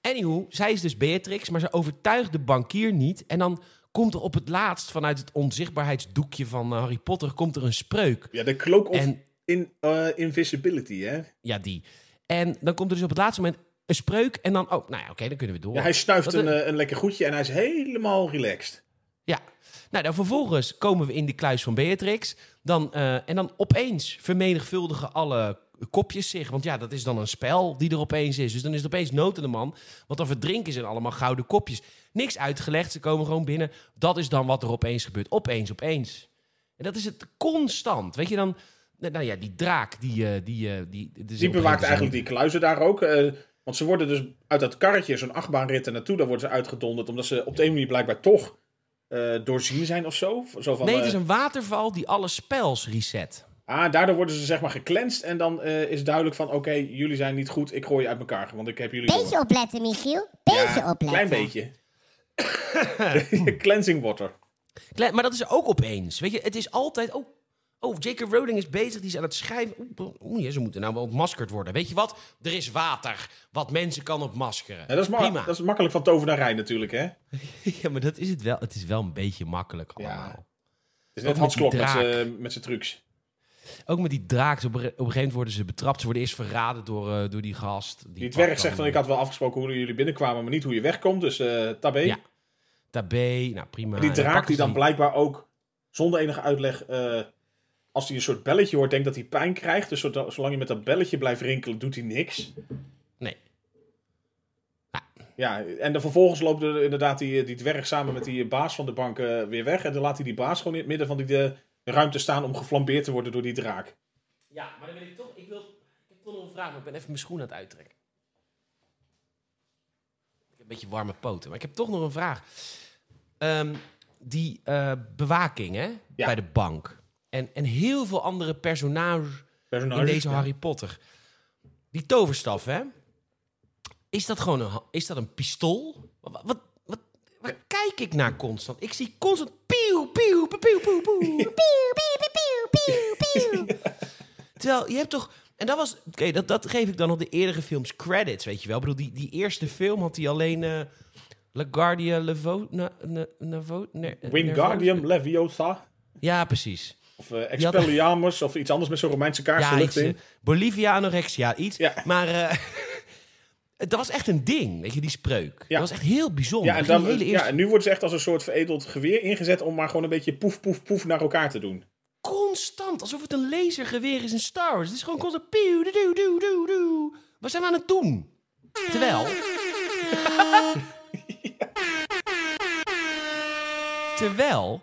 A: Anywho, zij is dus Beatrix, maar ze overtuigt de bankier niet. En dan komt er op het laatst vanuit het onzichtbaarheidsdoekje van eh, Harry Potter... komt er een spreuk.
B: Ja, de cloak of
A: En-
B: in, eh, invisibility, hè?
A: Ja, die. En dan komt er dus op het laatste moment een spreuk. En dan, oh, nou ja, oké, dan kunnen we door.
B: Ja, hij snuift
A: Wat
B: een,
A: een-
B: eh, een lekker goedje en hij is helemaal relaxed.
A: Ja. Nou, dan vervolgens komen we in de kluis van Beatrix. Dan, eh, en dan opeens vermenigvuldigen alle kopjes zich. Want ja, dat is dan een spel die er opeens is. Dus dan is het opeens nood aan de man. Want dan verdrinken ze allemaal gouden kopjes. Niks uitgelegd, ze komen gewoon binnen. Dat is dan wat er opeens gebeurt. Opeens, opeens. En dat is het constant. Weet je dan... Nou nou ja, die draak, die... eh, die, eh, die, het is
B: Die
A: op een gegeven
B: bewaakt
A: moment
B: eigenlijk die kluizen daar ook. eh, want ze worden dus uit dat karretje, zo'n achtbaanrit er naartoe, daar worden ze uitgedonderd. Omdat ze op de een manier blijkbaar toch eh, doorzien zijn of zo? zo van,
A: Nee, het
B: eh,
A: is een waterval die alle spells reset.
B: Ah, daardoor worden ze zeg maar gecleansed en dan eh, is duidelijk van... oké, jullie zijn niet goed, ik gooi je uit elkaar, want ik heb jullie... door.
C: Beetje opletten, Michiel. Beetje
B: ja,
C: opletten.
B: klein beetje. Cleansing water.
A: Klein- maar dat is ook opeens. Weet je, het is altijd. Oh, oh J.K. Rowling is bezig, die is aan het schrijven. Oeh, bro- Oeh, ja, ze moeten nou wel ontmaskerd worden. Weet je wat? Er is water wat mensen kan ontmaskeren.
B: Ja, dat, is ma-
A: Prima.
B: dat is makkelijk van tovenarij natuurlijk, hè? Het
A: Ja, maar dat is het wel. Het is wel een beetje makkelijk allemaal.
B: is
A: met
B: net Hans
A: die
B: Klok met
A: draak.
B: z'n- met zijn trucs.
A: Ook met die draak. Op, een- op een gegeven moment worden ze betrapt. Ze worden eerst verraden door, eh, door die gast.
B: Die dwerg zegt van, ik
A: had
B: had wel afgesproken hoe jullie binnenkwamen... maar niet hoe je wegkomt, dus eh tabé.
A: Ja, Tabé, nou prima.
B: En die
A: En dan
B: draak
A: pakken
B: die
A: ze
B: dan blijkbaar ook zonder enige uitleg, eh, als hij een soort belletje hoort, denkt dat hij pijn krijgt. Dus zoda- zolang je met dat belletje blijft rinkelen, doet hij niks.
A: Nee.
B: Ja, en dan vervolgens loopt er inderdaad die, eh, die dwerg samen met die baas van de bank eh, weer weg. En dan laat hij die baas gewoon in het midden van die de ruimte staan om geflambeerd te worden door die draak.
A: Ja, maar dan wil ik toch... Ik, wil, ik heb toch nog een vraag, maar ik ben even mijn schoen aan het uittrekken. Ik heb een beetje warme poten, maar ik heb toch nog een vraag. Ehm, die eh, bewaking hè,
B: Ja.
A: bij de bank en, en heel veel andere personages in
B: Personages.
A: deze Harry Potter. Die toverstaf, hè? Is dat gewoon een, ha- is dat een pistool? Wat, wat, wat, waar kijk ik naar constant? Ik zie constant pieuw, pieuw, pieuw, pieuw, pieuw, pieuw.
C: Pieuw, pieuw, pieuw, pieuw, pieuw, pieuw.
A: Terwijl je hebt toch. En dat was. Oké, dat, dat geef ik dan op de eerdere films credits, weet je wel. Ik bedoel, die, die eerste film had hij alleen. eh LaGuardia Levo. Na, na, Navo- Ner-
B: Wingardium Leviosa.
A: Ja, precies.
B: Of eh, Expelliarmus of iets anders met zo'n Romeinse
A: Ja,
B: kaarslucht
A: iets, eh,
B: in.
A: Bolivia anorexia, iets.
B: Ja.
A: Maar eh, dat was echt een ding, weet je, die spreuk.
B: Ja.
A: Dat was echt heel bijzonder.
B: Ja en,
A: Die
B: dan,
A: hele
B: ja,
A: eerste
B: en nu wordt ze echt als een soort veredeld geweer ingezet om maar gewoon een beetje poef, poef, poef naar elkaar te doen.
A: constant, alsof het een lasergeweer is in Star Wars. Het is gewoon constant. Pieuw, doe, doe, doe, doe, doe. Wat zijn we aan het doen? Terwijl. Terwijl,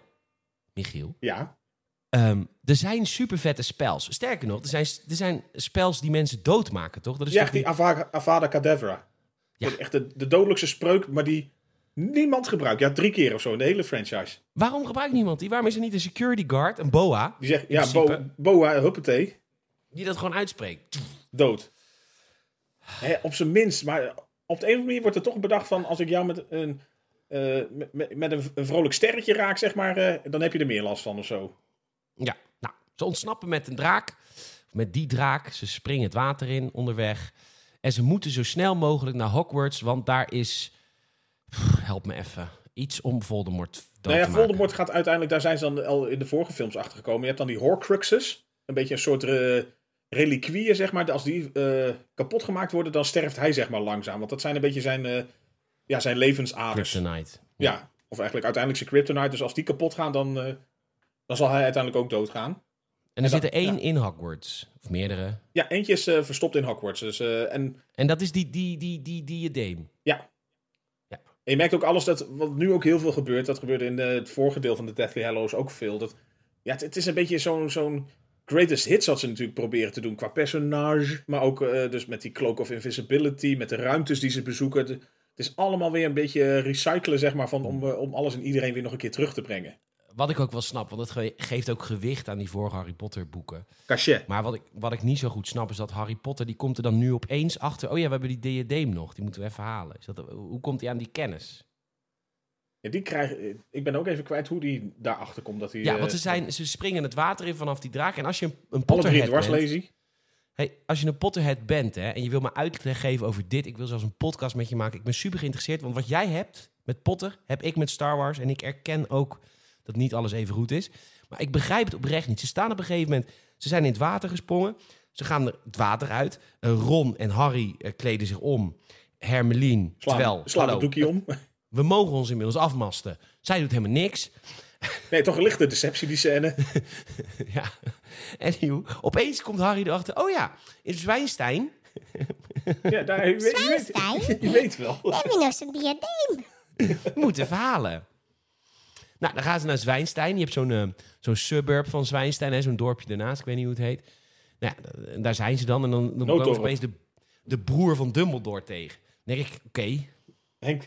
A: Michiel,
B: Ja.
A: ehm, er zijn supervette spels. Sterker nog, er zijn, er zijn spels die mensen doodmaken, Dus toch? Dat is
B: Ja,
A: toch
B: echt die Avada, Avada Kedavra.
A: Ja.
B: Echt de, de dodelijkste spreuk, maar die niemand gebruikt. Ja, drie keer of zo in de hele franchise.
A: Waarom gebruikt niemand die? Waarom is er niet een security guard, een boa,
B: Die zegt, ja,
A: principe.
B: bo, boa, huppatee,
A: die dat gewoon uitspreekt?
B: dood. Hè, op zijn minst, maar op de een of andere manier wordt er toch bedacht van... als ik jou met een, eh, met- met, met een, een vrolijk sterretje raak, zeg maar... eh, dan heb je er meer last van of zo.
A: Ja, nou, ze ontsnappen met een draak. Met die draak. Ze springen het water in onderweg. En ze moeten zo snel mogelijk naar Hogwarts, want daar is... Pff, help me even. Iets om Voldemort dood
B: Nou ja,
A: te maken.
B: Voldemort gaat uiteindelijk... daar zijn ze dan al in de vorige films achtergekomen. Je hebt dan die Horcruxes. Een beetje een soort eh, reliquieën, zeg maar. Als die eh, kapot gemaakt worden, dan sterft hij zeg maar langzaam. Want dat zijn een beetje zijn, eh, ja, zijn levensaders.
A: Kryptonite.
B: Ja, of eigenlijk uiteindelijk zijn kryptonite. Dus als die kapot gaan, dan, eh, dan zal hij uiteindelijk ook doodgaan.
A: En er
B: dat-
A: zit er één in Hogwarts. Of meerdere.
B: Ja, eentje is eh, verstopt in Hogwarts. Dus, eh, en
A: En dat is die, die, die, die, diadeem.
B: En je merkt ook alles dat, wat nu ook heel veel gebeurt, dat gebeurde in eh, het vorige deel van de Deathly Hallows ook veel. Dat, ja, het, het is een beetje zo'n zo'n greatest hits wat ze natuurlijk proberen te doen qua personage. Maar ook eh, dus met die Cloak of Invisibility, met de ruimtes die ze bezoeken. Het, het is allemaal weer een beetje recyclen, zeg maar, van, om, eh, om alles en iedereen weer nog een keer terug te brengen.
A: Wat ik ook wel snap, want dat ge- geeft ook gewicht aan die vorige Harry Potter boeken.
B: Cachet.
A: Maar wat ik, wat ik niet zo goed snap is dat Harry Potter, die komt er dan nu opeens achter. Oh ja, we hebben die diadeem nog, die moeten we even halen. Is dat, hoe komt hij aan die kennis?
B: Ja, die krijg, eh, ik ben ook even kwijt hoe die daarachter komt. Dat die,
A: Ja,
B: eh,
A: want ze, zijn, ze springen het water in vanaf die draak. En als je een, een
B: alle drie
A: Potterhead bent...
B: dwarslazy.
A: Hey, als je een Potterhead bent hè, en je wil me uitleg geven over dit... ik wil zelfs een podcast met je maken. Ik ben super geïnteresseerd, want wat jij hebt met Potter... heb ik met Star Wars en ik erken ook dat niet alles even goed is. Maar ik begrijp het oprecht niet. Ze staan op een gegeven moment... ze zijn in het water gesprongen. Ze gaan er het water uit. Eh, Ron en Harry eh, kleden zich om. Hermeline, terwijl...
B: Slaan, slaan het
A: hallo,
B: doekje om.
A: we mogen ons inmiddels afmasten. Zij doet helemaal niks.
B: Nee, toch een lichte deceptie, die scène.
A: Ja. En opeens komt Harry erachter. Oh ja, in Zwijnstein.
B: Ja, daar, je, weet- je, weet, je weet wel.
C: Heb je nog zo'n diadeem?
A: moeten verhalen. Nou, dan gaan ze naar Zwijnstein. Je hebt zo'n eh, zo'n suburb van Zwijnstein, hè, zo'n dorpje daarnaast. Ik weet niet hoe het heet. Nou, ja, d- en daar zijn ze dan. En dan, dan komen
B: Nooddorp.
A: ze opeens de, de broer van Dumbledore tegen. Dan denk ik, oké,
B: Henk,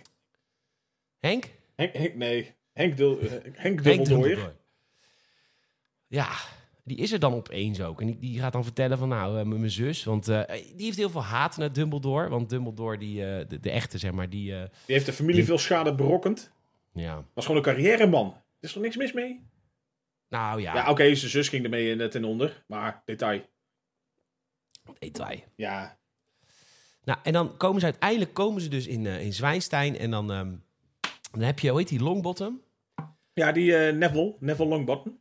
A: Henk?
B: Henk, Henk, nee. Henk, Dul, eh, Henk
A: Henk
B: Dubbeldooier.
A: Dubbeldooier. Ja, die is er dan opeens ook. En die, die gaat dan vertellen van nou, eh, m- mijn zus. Want eh, die heeft heel veel haat naar Dumbledore. Want Dumbledore, die, eh, de, de echte zeg maar, die... eh,
B: Die heeft de familie veel schade berokkend.
A: ja,
B: Was gewoon een carrièreman. Er is toch niks mis mee?
A: nou ja,
B: Ja, oké, zijn zus ging ermee eh, net ten onder. Maar detail.
A: detail.
B: Ja,
A: Nou, en dan komen ze uiteindelijk komen ze dus in, eh in Zwijnstein. En dan, ehm, dan heb je, hoe heet die, Longbottom?
B: ja die eh, Neville, Neville Longbottom.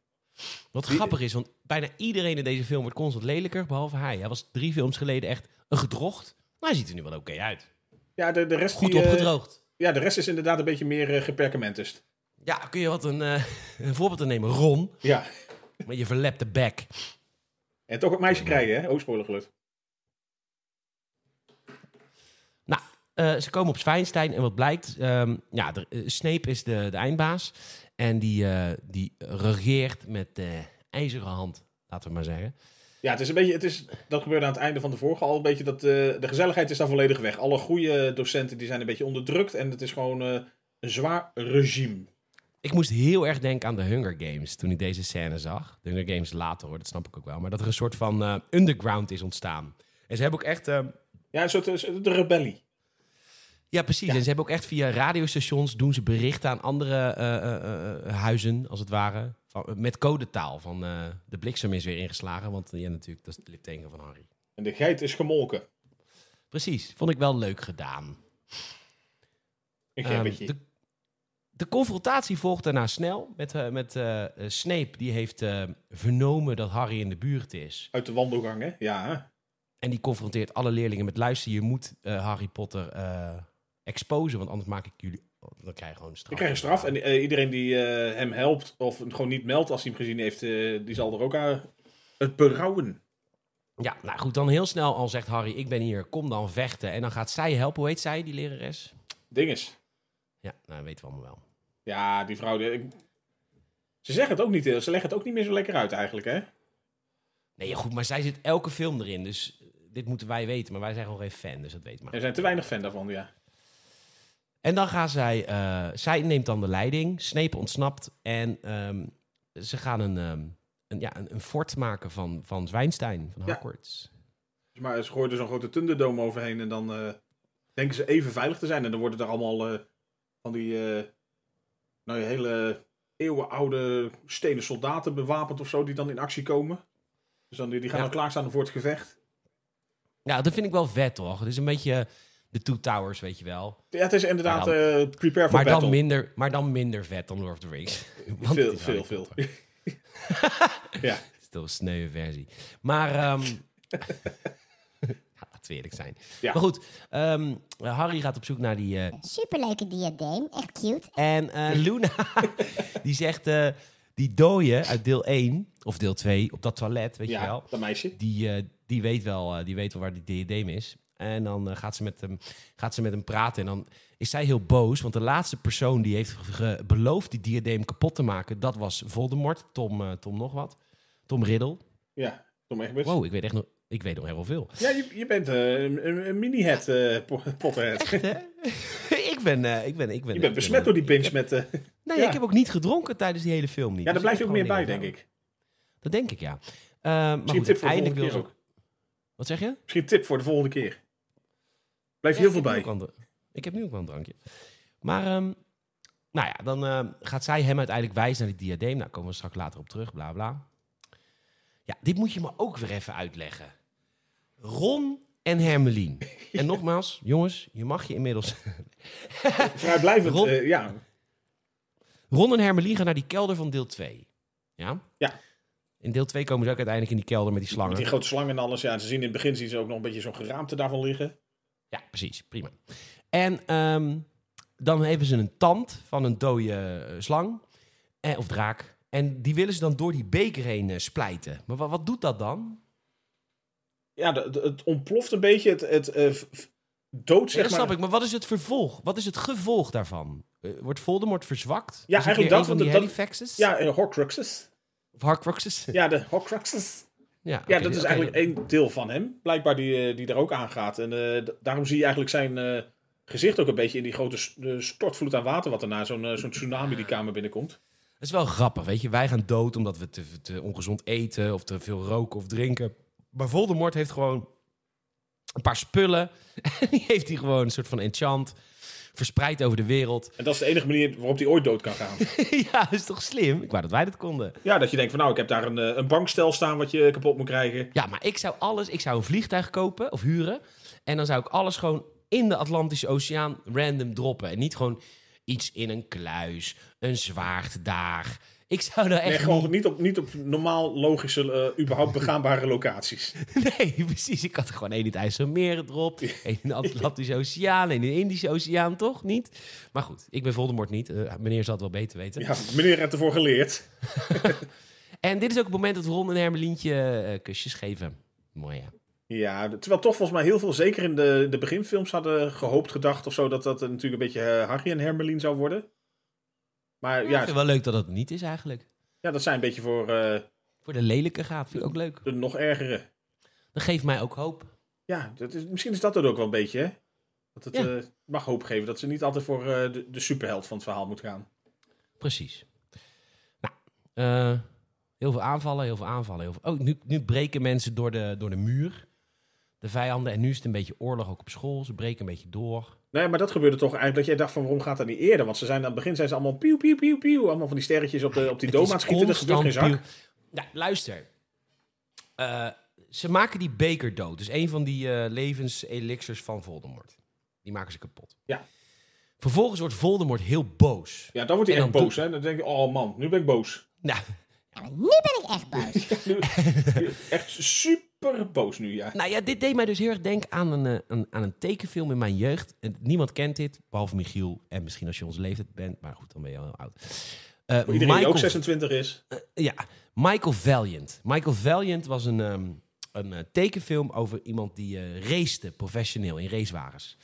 A: Wat
B: Die-
A: grappig is, want bijna iedereen in deze film wordt constant lelijker, behalve hij. Hij was drie films geleden echt een gedrocht. Maar hij ziet er nu wel oké uit.
B: Ja, de, de rest
A: Goed
B: die, eh,
A: opgedroogd.
B: ja, de rest is inderdaad een beetje meer eh, geperkamentist.
A: Ja, kun je wat een, eh, een voorbeeld aan nemen? Ron,
B: Ja.
A: met je verlepte bek.
B: En toch het meisje krijgen, hè? Ook spoilergeluid.
A: Nou, eh, ze komen op Zwijnstein en wat blijkt, ehm, ja, de, eh, Snape is de, de eindbaas. En die, eh, die regeert met eh, ijzeren hand, laten we maar zeggen.
B: Ja, het is een beetje, het is, dat gebeurde aan het einde van de vorige al, een beetje dat eh, de gezelligheid is daar volledig weg. Alle goede docenten die zijn een beetje onderdrukt en het is gewoon eh, een zwaar regime.
A: Ik moest heel erg denken aan de Hunger Games toen ik deze scène zag. De Hunger Games later hoor, dat snap ik ook wel. Maar dat er een soort van eh, underground is ontstaan. En ze hebben ook echt... ehm,
B: Ja, een soort een soort- de rebellie.
A: ja, precies. En ze hebben ook echt via radiostations doen ze berichten aan andere eh, eh, eh, huizen, als het ware. Van, eh, met codetaal van eh, de bliksem is weer ingeslagen. Want ja, natuurlijk, dat is de lipteken van Harry.
B: En de geit is gemolken.
A: Precies, vond ik wel leuk gedaan.
B: Een geit
A: Ehm,
B: beetje.
A: de, de confrontatie volgt daarna snel met, eh, met eh, eh, Snape. Die heeft eh, vernomen dat Harry in de buurt is.
B: Uit de wandelgang, hè? Ja. hè?
A: En die confronteert alle leerlingen met... luister, je moet eh, Harry Potter eh exposen, want anders maak ik jullie... Dan krijg je gewoon een straf.
B: Ik krijg een straf en eh, iedereen die eh, hem helpt of hem gewoon niet meldt als hij hem gezien heeft, eh, die zal er ook aan het berouwen.
A: Ja, nou goed, dan heel snel al zegt Harry... ik ben hier, kom dan vechten. En dan gaat zij helpen. Hoe heet zij, die lerares?
B: Dinges.
A: Ja, nou, dat weten we allemaal wel.
B: Ja, die vrouw. die- ik- Ze zeggen het ook niet, eh, ze leggen het ook niet meer zo lekker uit eigenlijk, hè?
A: Nee, ja, goed, maar zij zit elke film erin. Dus eh, dit moeten wij weten. Maar wij zijn gewoon geen fan, dus dat weet maar.
B: Er zijn te weinig fan daarvan, ja.
A: En dan gaan zij, eh, zij neemt dan de leiding, Snape ontsnapt en ehm, ze gaan een, ehm, een, ja, een, een fort maken van, van Zwijnstein, van
B: Ja.
A: Hogwarts.
B: Dus Maar ze gooien er zo'n grote thunderdome overheen en dan eh, denken ze even veilig te zijn. En dan worden er allemaal eh, van die eh, nou, die hele eeuwenoude stenen soldaten bewapend of zo, die dan in actie komen. Dus dan, die, die gaan
A: Ja.
B: dan klaarstaan voor het gevecht.
A: Ja. dat vind ik wel vet, toch? Het is een beetje de Two Towers, weet je wel.
B: Ja, het is inderdaad
A: Maar
B: eh, prepare for
A: Maar
B: battle.
A: dan, minder, maar dan minder vet dan Lord of the Rings. Want het
B: veel,
A: is Harry
B: veel, veel.
A: Potter.
B: ja.
A: Stil, sneuwe versie. Maar, ehm ja, laten we eerlijk zijn.
B: Ja.
A: Maar goed, ehm, Harry gaat op zoek naar die... eh,
C: Superleuke diadeem, echt cute.
A: En eh, Luna, die zegt, eh, die dooie uit deel 1 of deel 2 op dat toilet, weet je
B: ja,
A: wel.
B: dat meisje.
A: Die, eh, die, weet wel eh, die weet wel waar die diadeem is. En dan eh, gaat, ze met hem, gaat ze met hem praten. En dan is zij heel boos, want de laatste persoon die heeft ge- beloofd die diadeem kapot te maken, dat was Voldemort, Tom, eh, Tom nog wat. Tom Riddle.
B: Ja, Tom Egberts.
A: Wow, ik weet echt nog, ik weet nog heel veel.
B: Ja, je, je bent eh, een, een- een mini-head, eh, po- Potterhead.
A: ik, ben, eh, ik ben, ik ben...
B: Je
A: ik ben-
B: bent besmet door die pinch met... eh,
A: Nee,
B: ja.
A: ik heb ook niet gedronken tijdens die hele film niet.
B: ja, daar
A: Dus
B: blijft
A: ik
B: ook
A: heb
B: meer
A: gewoon
B: bij,
A: dingen
B: denk
A: gedaan.
B: ik.
A: Dat denk ik, ja. Eh, maar
B: Misschien
A: goed,
B: tip voor de
A: uiteindelijk
B: volgende
A: wil
B: keer
A: ze
B: ook.
A: Wat zeg je?
B: Misschien tip voor de volgende keer. Blijf
A: Ja,
B: heel veel
A: ik heb nu
B: bij.
A: ook wel een- Ik heb nu ook wel een drankje. Maar, ehm, nou ja, dan ehm, gaat zij hem uiteindelijk wijzen naar die diadeem. Nou, komen we straks later op terug, bla bla. Ja, dit moet je me ook weer even uitleggen. Ron en Hermelien. En nogmaals, jongens, je mag je inmiddels...
B: Vrijblijvend,
A: Rob-
B: eh, ja.
A: Ron en Hermelien gaan naar die kelder van deel 2. Ja?
B: Ja.
A: In deel 2 komen ze ook uiteindelijk in die kelder met die slangen.
B: Met die grote slangen en alles. Ja, ze zien in het begin zien ze ook nog een beetje zo'n geraamte daarvan liggen.
A: Ja, precies. Prima. En ehm, dan hebben ze een tand van een dode eh, slang eh, of draak. En die willen ze dan door die beker heen eh, splijten. Maar wa- wat doet dat dan?
B: Ja, de- de- het ontploft een beetje. Het, het eh, v- v- dood,
A: Ja,
B: zeg
A: dat
B: maar.
A: snap ik. Maar wat is het vervolg? Wat is het gevolg daarvan? Eh, wordt Voldemort verzwakt?
B: Ja,
A: Is het
B: eigenlijk
A: weer
B: dat,
A: een van die
B: want dat-
A: Halifaxes?
B: Ja, eh, Horcruxes.
A: Of Harcroxes?
B: Ja, de Horcruxes.
A: Ja,
B: Ja,
A: oké,
B: dat is
A: oké.
B: eigenlijk één deel van hem. Blijkbaar die, eh, die er ook aan gaat. En eh, d- daarom zie je eigenlijk zijn eh, gezicht ook een beetje in die grote s- eh, stortvloed aan water... wat daarna zo'n eh, zo'n tsunami die kamer binnenkomt.
A: Dat is wel grappig, weet je. Wij gaan dood omdat we te, te ongezond eten of te veel roken of drinken. Maar Voldemort heeft gewoon een paar spullen. En die heeft hij gewoon een soort van enchant verspreid over de wereld.
B: En dat is de enige manier waarop die ooit dood kan gaan.
A: ja, dat is toch slim? Ik wou dat wij dat konden.
B: ja, dat je denkt van nou, ik heb daar een, eh, een bankstel staan wat je kapot moet krijgen.
A: Ja, maar ik zou alles... Ik zou een vliegtuig kopen of huren. En dan zou ik alles gewoon in de Atlantische Oceaan random droppen. En niet gewoon iets in een kluis, een zwaard daar. Ik zou daar echt
B: Nee,
A: niet-
B: gewoon niet op, niet op normaal logische, eh, überhaupt begaanbare locaties.
A: Nee, precies. Ik had er gewoon één in het IJsselmeer erop. één in de Atlantische Oceaan. één in de Indische Oceaan, toch? Niet? Maar goed, ik ben Voldemort niet. Eh, meneer zal het wel beter weten.
B: Ja, meneer heeft ervoor geleerd.
A: En dit is ook het moment dat Ron en Hermelientje eh, kusjes geven. Mooi, ja.
B: Ja, terwijl toch volgens mij heel veel, zeker in de, de beginfilms, hadden gehoopt, gedacht of zo, dat dat natuurlijk een beetje eh, Harry en Hermeline zou worden. Maar
A: Ik
B: ja,
A: vind het wel leuk dat dat niet is eigenlijk.
B: ja, dat zijn een beetje voor eh,
A: Voor de lelijke gaat, vind ik ook leuk.
B: de nog ergere.
A: Dat geeft mij ook hoop.
B: Ja, dat is, misschien is dat het ook wel een beetje, hè? Dat het
A: Ja.
B: eh, mag hoop geven dat ze niet altijd voor eh, de, de superheld van het verhaal moet gaan.
A: Precies. Nou, eh, heel veel aanvallen, heel veel aanvallen. Heel veel... Oh, nu, nu breken mensen door de, door de muur. De vijanden. En nu is het een beetje oorlog ook op school. Ze breken een beetje door.
B: Nee, maar dat gebeurde toch eigenlijk dat jij dacht van waarom gaat dat niet eerder? Want ze zijn aan het begin zijn ze allemaal pieuw, pieuw, pieuw, pieuw. Allemaal van die sterretjes op, de, op die
A: Het is
B: doma aan het schieten. Dat gebeurt geen
A: constant
B: zak.
A: piel- Nou, luister. Eh, ze maken die beker dood. Dus een van die eh levenselixirs van Voldemort. Die maken ze kapot.
B: Ja.
A: Vervolgens wordt Voldemort heel boos.
B: Ja, dan wordt hij
A: En
B: echt
A: dan
B: boos, hè? Dan denk je, oh man, nu ben ik boos.
A: Nou,
C: Ja, maar nu ben ik echt boos.
B: Nu- nu- echt super boos nu, ja.
A: nou ja, dit deed mij dus heel erg denken aan een, eh, aan, aan een tekenfilm in mijn jeugd. En niemand kent dit, behalve Michiel. En misschien als je onze leeftijd bent. Maar goed, dan ben je al heel oud. Eh,
B: Iedereen die ook
A: Michael
B: 26 is.
A: Ja, Michael Valiant. Michael Valiant was een, ehm, een eh, tekenfilm over iemand die eh racete professioneel in racewagens.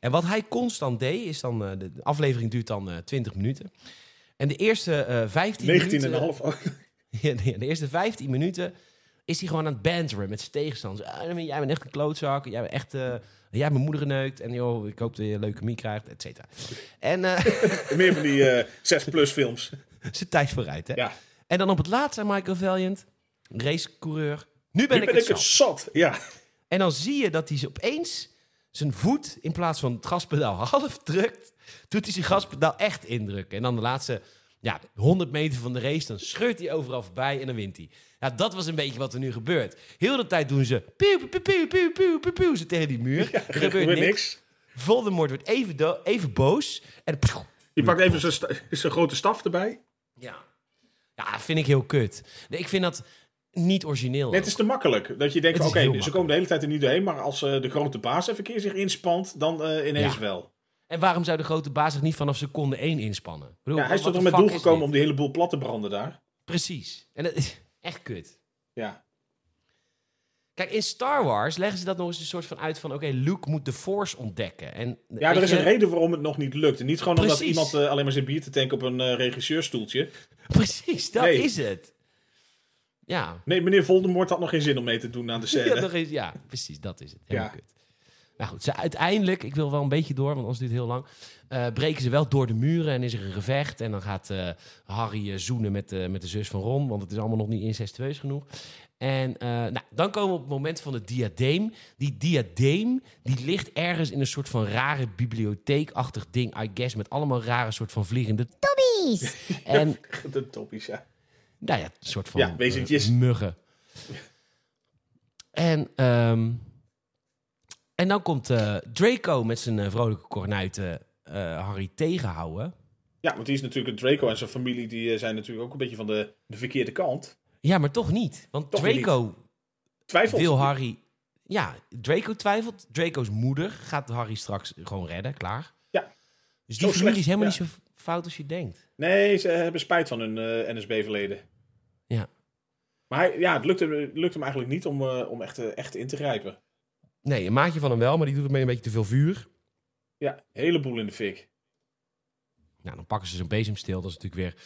A: En wat hij constant deed, is dan... eh, de de aflevering duurt dan eh 20 minuten. En de eerste eh 15 minuten...
B: 19,5. Oh,
A: Ja, nee, de eerste 15 minuten is hij gewoon aan het banteren met zijn tegenstanders. Ah, jij bent- jij bent echt een klootzak. Jij bent echt... eh, jij hebt mijn moeder geneukt. En joh, ik hoop dat je leukemie krijgt, et cetera. En eh
B: Meer van die 6-plus films.
A: zijn tijd vooruit, hè?
B: Ja.
A: En dan op het laatst zei Michael Valiant, racecoureur. Nu ben
B: Nu
A: ik het zat.
B: zat. Ja.
A: En dan zie je dat hij opeens zijn voet in plaats van het gaspedaal half drukt, doet hij zijn gaspedaal echt indrukken. En dan de laatste ja, 100 meter van de race, dan scheurt hij overal voorbij en dan wint hij. Ja, dat was een beetje wat er nu gebeurt. Heel de tijd doen ze pieuw, pieuw, pieuw, pieuw, pieuw, pieuw, pieuw, pieuw, ze tegen die muur. er
B: Er gebeurt niks.
A: Voldemort wordt even, do- even boos en... pschoe.
B: Je pakt even zijn sta- zijn grote staf
A: Oh.
B: erbij.
A: Ja. ja, vind ik heel kut. Nee, ik vind dat niet origineel.
B: Het is te makkelijk. Dat je denkt,
A: Het
B: van,
A: is
B: oké,
A: heel
B: ze
A: makkelijk.
B: komen de hele tijd er niet doorheen. Maar als eh, de grote baas even een keer zich inspant, dan eh, ineens
A: Ja.
B: wel.
A: En waarom zou de grote baas zich niet vanaf seconde 1 inspannen? Ik bedoel,
B: Ja, hij is
A: wat
B: tot er
A: de
B: met
A: fuck
B: doel
A: is
B: gekomen
A: dit?
B: om die hele boel plat te branden daar.
A: Precies. En dat is echt kut.
B: Ja.
A: Kijk, in Star Wars leggen ze dat nog eens een soort van uit van... Oké, Luke moet de Force ontdekken. En,
B: Ja, er
A: weet
B: is
A: je,
B: een reden waarom het nog niet lukt. En niet gewoon omdat
A: Precies.
B: iemand eh, alleen maar zijn bier te tanken op een eh, regisseurstoeltje.
A: Precies, dat
B: Nee.
A: is het. Ja.
B: Nee, meneer Voldemort had nog geen zin om mee te doen aan de scène.
A: Ja, nog eens, ja, precies, dat is het. Helemaal
B: Ja.
A: kut. Nou goed, ze uiteindelijk, ik wil wel een beetje door, want anders duurt het heel lang. eh, breken ze wel door de muren en is er een gevecht. En dan gaat eh, Harry eh, zoenen met, eh, met de zus van Ron, want het is allemaal nog niet incestueus genoeg. En eh, nou, dan komen we op het moment van het diadeem. Die diadeem, die ligt ergens in een soort van rare bibliotheekachtig ding, I guess, met allemaal rare soort van vliegende...
C: Dobbies.
A: En
B: De toppies, ja.
A: nou ja, een soort van
B: Ja, wezentjes.
A: eh, muggen. En, ehm, en dan komt eh, Draco met zijn eh, vrolijke kornuiten eh, Harry tegenhouden.
B: Ja, want die is natuurlijk Draco en zijn familie, die eh, zijn natuurlijk ook een beetje van de, de verkeerde kant.
A: Ja, maar toch niet. Want
B: Toch
A: Draco
B: Twijfelt.
A: wil Harry... Ja, Draco twijfelt. Draco's moeder gaat Harry straks gewoon redden, klaar.
B: Ja.
A: Dus
B: Zo
A: die familie is
B: slecht,
A: helemaal
B: ja.
A: niet zo fout als je denkt.
B: Nee, ze hebben spijt van hun eh, NSB-verleden.
A: Ja.
B: Maar hij, ja, het lukt hem, het lukt hem eigenlijk niet om, eh, om echt, eh, echt in te grijpen.
A: Nee, een maatje van hem wel, maar die doet ermee een beetje te veel vuur.
B: Ja, een heleboel in de fik.
A: Nou, dan pakken ze zijn bezemsteel. Dat is natuurlijk weer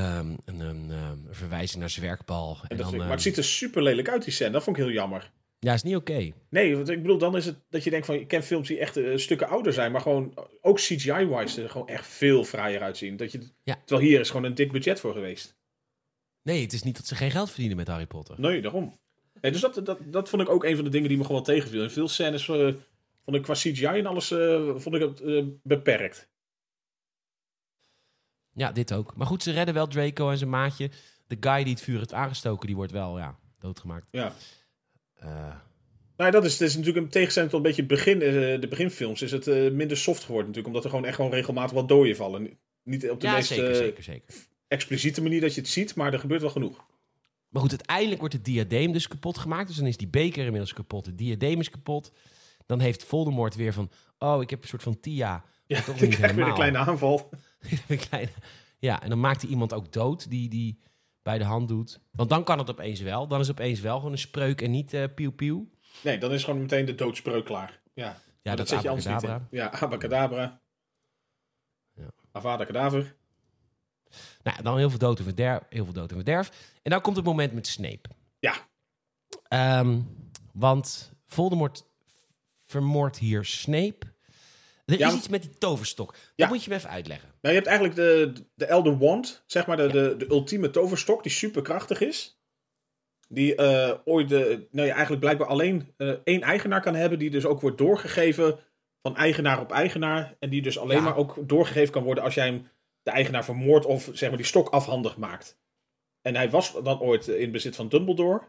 A: ehm, een, een, ehm, een verwijzing naar zijn werkbal. En
B: En dat
A: dan,
B: maar
A: ehm,
B: het ziet er super lelijk uit, die scène. Dat vond ik heel jammer.
A: Ja, is niet oké.
B: Nee, want ik bedoel, dan is het dat je denkt van, ik ken films die echt eh, stukken ouder zijn, maar gewoon ook CGI-wise er gewoon echt veel fraaier uitzien. Dat je,
A: Ja.
B: Terwijl hier is gewoon een dik budget voor geweest.
A: Nee, het is niet dat ze geen geld verdienen met Harry Potter.
B: Nee, daarom. Nee, dus dat, dat, dat vond ik ook een van de dingen die me gewoon wel tegenviel. In veel scènes eh, vond ik qua CGI en alles eh, vond ik het eh, beperkt.
A: Ja, dit ook. Maar goed, ze redden wel Draco en zijn maatje. De guy die het vuur heeft aangestoken, die wordt wel ja, doodgemaakt.
B: Ja.
A: Eh,
B: Nou, ja, dat is, dat is natuurlijk een tegenstelling tot een beetje het begin, eh, de beginfilms. Is het eh, minder soft geworden natuurlijk, omdat er gewoon echt gewoon regelmatig wat dooien vallen. Niet op de
A: ja,
B: meest
A: zeker,
B: eh,
A: zeker, zeker.
B: expliciete manier dat je het ziet, maar er gebeurt wel genoeg.
A: Maar goed, uiteindelijk wordt het diadeem dus kapot gemaakt. Dus dan is die beker inmiddels kapot. Het diadeem is kapot. Dan heeft Voldemort weer van... Oh, ik heb een soort van Tia.
B: Ja,
A: toch
B: ik
A: niet
B: krijg weer een
A: helemaal.
B: kleine aanval.
A: Een kleine- ja, en dan maakt hij iemand ook dood die, die bij de hand doet. Want dan kan het opeens wel. Dan is het opeens wel gewoon een spreuk en niet eh pieuw pieuw.
B: Nee, dan is gewoon meteen de doodspreuk klaar. Ja, Maar
A: Ja, dat, is
B: zet je anders niet in. Ja, abacadabra.
A: Ja.
B: Avada kadaver.
A: Nou, dan heel veel dood en verderf. Heel veel dood en verderf. En dan komt het moment met Snape.
B: Ja.
A: Ehm, want Voldemort vermoordt hier Snape. Er is
B: Ja, maar-
A: iets met die toverstok.
B: Ja.
A: Dat moet je me even uitleggen.
B: Nou, je hebt eigenlijk de, de Elder Wand, zeg maar de, de, de ultieme toverstok die superkrachtig is. Die eh, ooit, de, nou ja, eigenlijk blijkbaar alleen eh, één eigenaar kan hebben, die dus ook wordt doorgegeven van eigenaar op eigenaar. En die dus alleen
A: Ja.
B: maar ook doorgegeven kan worden als jij hem de eigenaar vermoordt of zeg maar die stok afhandig maakt. En hij was dan ooit eh, in bezit van Dumbledore.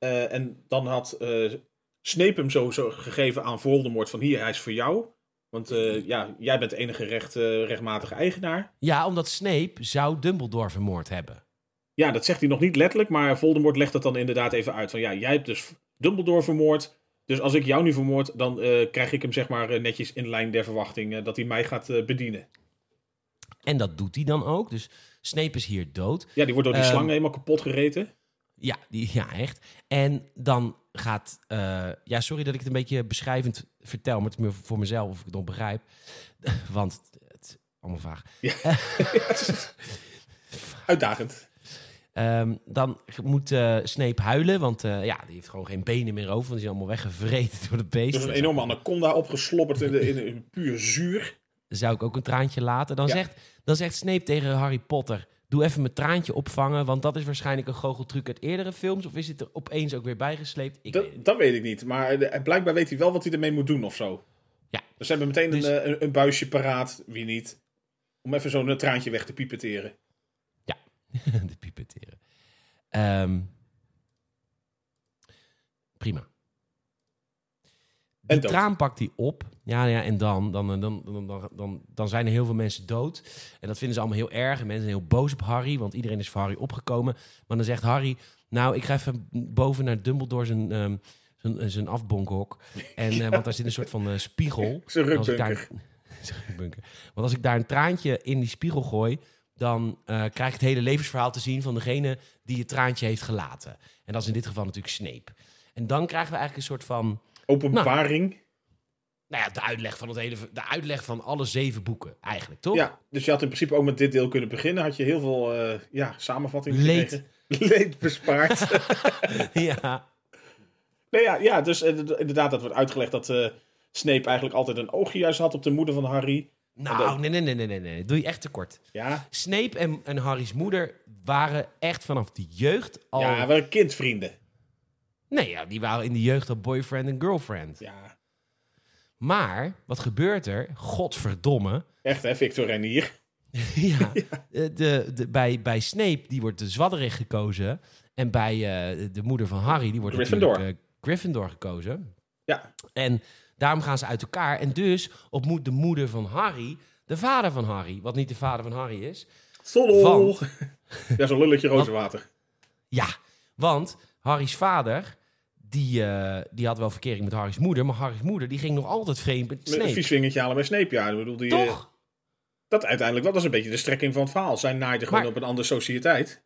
B: Eh, en dan had eh Snape hem zo, zo gegeven aan Voldemort van hier, hij is voor jou. Want eh, ja, jij bent de enige recht, eh, rechtmatige eigenaar.
A: Ja, omdat Snape zou Dumbledore vermoord hebben.
B: Ja, dat zegt hij nog niet letterlijk, maar Voldemort legt dat dan inderdaad even uit. Van ja, jij hebt dus Dumbledore vermoord. Dus als ik jou nu vermoord, dan eh, krijg ik hem zeg maar eh, netjes in lijn der verwachting eh, dat hij mij gaat eh, bedienen.
A: En dat doet hij dan ook. Dus Snape is hier dood.
B: Ja, die wordt door die
A: Ehm.
B: slang helemaal kapot gereten.
A: Ja, die, ja echt. En dan gaat... eh, ja, sorry dat ik het een beetje beschrijvend vertel, maar het is meer voor mezelf of ik het nog begrijp. Want het, het is allemaal vaag.
B: Uitdagend.
A: Ehm, dan moet eh, Snape huilen, want eh, ja, die heeft gewoon geen benen meer over. Want die is allemaal weggevreten door het beest.
B: Dus een enorme anaconda opgeslobberd in, de, in, in puur zuur.
A: zou ik ook een traantje laten. Dan,
B: Ja.
A: zegt, dan zegt Snape tegen Harry Potter... doe even mijn traantje opvangen... want dat is waarschijnlijk een goocheltruc uit eerdere films... of is het er opeens ook weer bijgesleept? Ik
B: Dat,
A: weet het.
B: dat weet ik niet, maar eh, blijkbaar weet hij wel wat hij ermee moet doen of zo.
A: Ja.
B: Dus ze hebben meteen
A: Dus-
B: een, eh, een, een buisje paraat, wie niet. Om even zo'n eh, traantje weg te pipeteren.
A: niet. De pipeteren. Ehm, prima.
B: En
A: Die
B: dood.
A: traan pakt hij op. Ja, ja en dan, dan, dan, dan, dan, dan, dan zijn er heel veel mensen dood. En dat vinden ze allemaal heel erg. En mensen zijn heel boos op Harry, want iedereen is voor Harry opgekomen. Maar dan zegt Harry, nou, ik ga even boven naar Dumbledore zijn, ehm, zijn, eh, zijn afbonkhok. En, eh, want daar zit een soort van eh, spiegel.
B: Zijn
A: En als ik daar- Zijn rukbunker. Want als ik daar een traantje in die spiegel gooi... dan eh, krijg ik het hele levensverhaal te zien van degene die het traantje heeft gelaten. En dat is in dit geval natuurlijk Snape. En dan krijgen we eigenlijk een soort van...
B: Openbaring.
A: Nou ja, de uitleg van, het hele, de uitleg van alle zeven boeken, eigenlijk, toch?
B: Ja, dus je had in principe ook met dit deel kunnen beginnen. Had je heel veel eh, ja, samenvattingen
A: Leed.
B: gekregen. Leed bespaard.
A: ja.
B: nee, ja, ja, dus eh, d- inderdaad, dat wordt uitgelegd dat eh, Snape eigenlijk altijd een oogje juist had op de moeder van Harry.
A: Nou, nee, nee, nee, nee, nee, nee. Doe je echt tekort.
B: Ja,
A: Snape en, en Harry's moeder waren echt vanaf de jeugd al...
B: ja we waren kindvrienden.
A: Nee, ja, die waren in de jeugd al boyfriend en girlfriend.
B: Ja,
A: Maar, wat gebeurt er? Godverdomme.
B: echt hè, Victor Renier.
A: ja, eh, de, de, bij, bij Snape, die wordt de zwadderig gekozen. En bij eh, de moeder van Harry, die wordt
B: Gryffindor.
A: natuurlijk eh, Gryffindor gekozen.
B: Ja,
A: En daarom gaan ze uit elkaar. En dus ontmoet de moeder van Harry de vader van Harry. Wat niet de vader van Harry is.
B: Soddel.
A: Want-
B: Ja, zo'n lulletje rozenwater.
A: Ja, want Harry's vader... Die, eh, die had wel verkering met Harry's moeder. Maar Harry's moeder die ging nog altijd vreemd met
B: Met een
A: Snape.
B: vies vingertje halen bij Snape, ja. Ik bedoel, die, eh,
A: Toch?
B: dat uiteindelijk, dat was een beetje de strekking van het verhaal. Zij naaide gewoon
A: Maar-
B: op een andere sociëteit.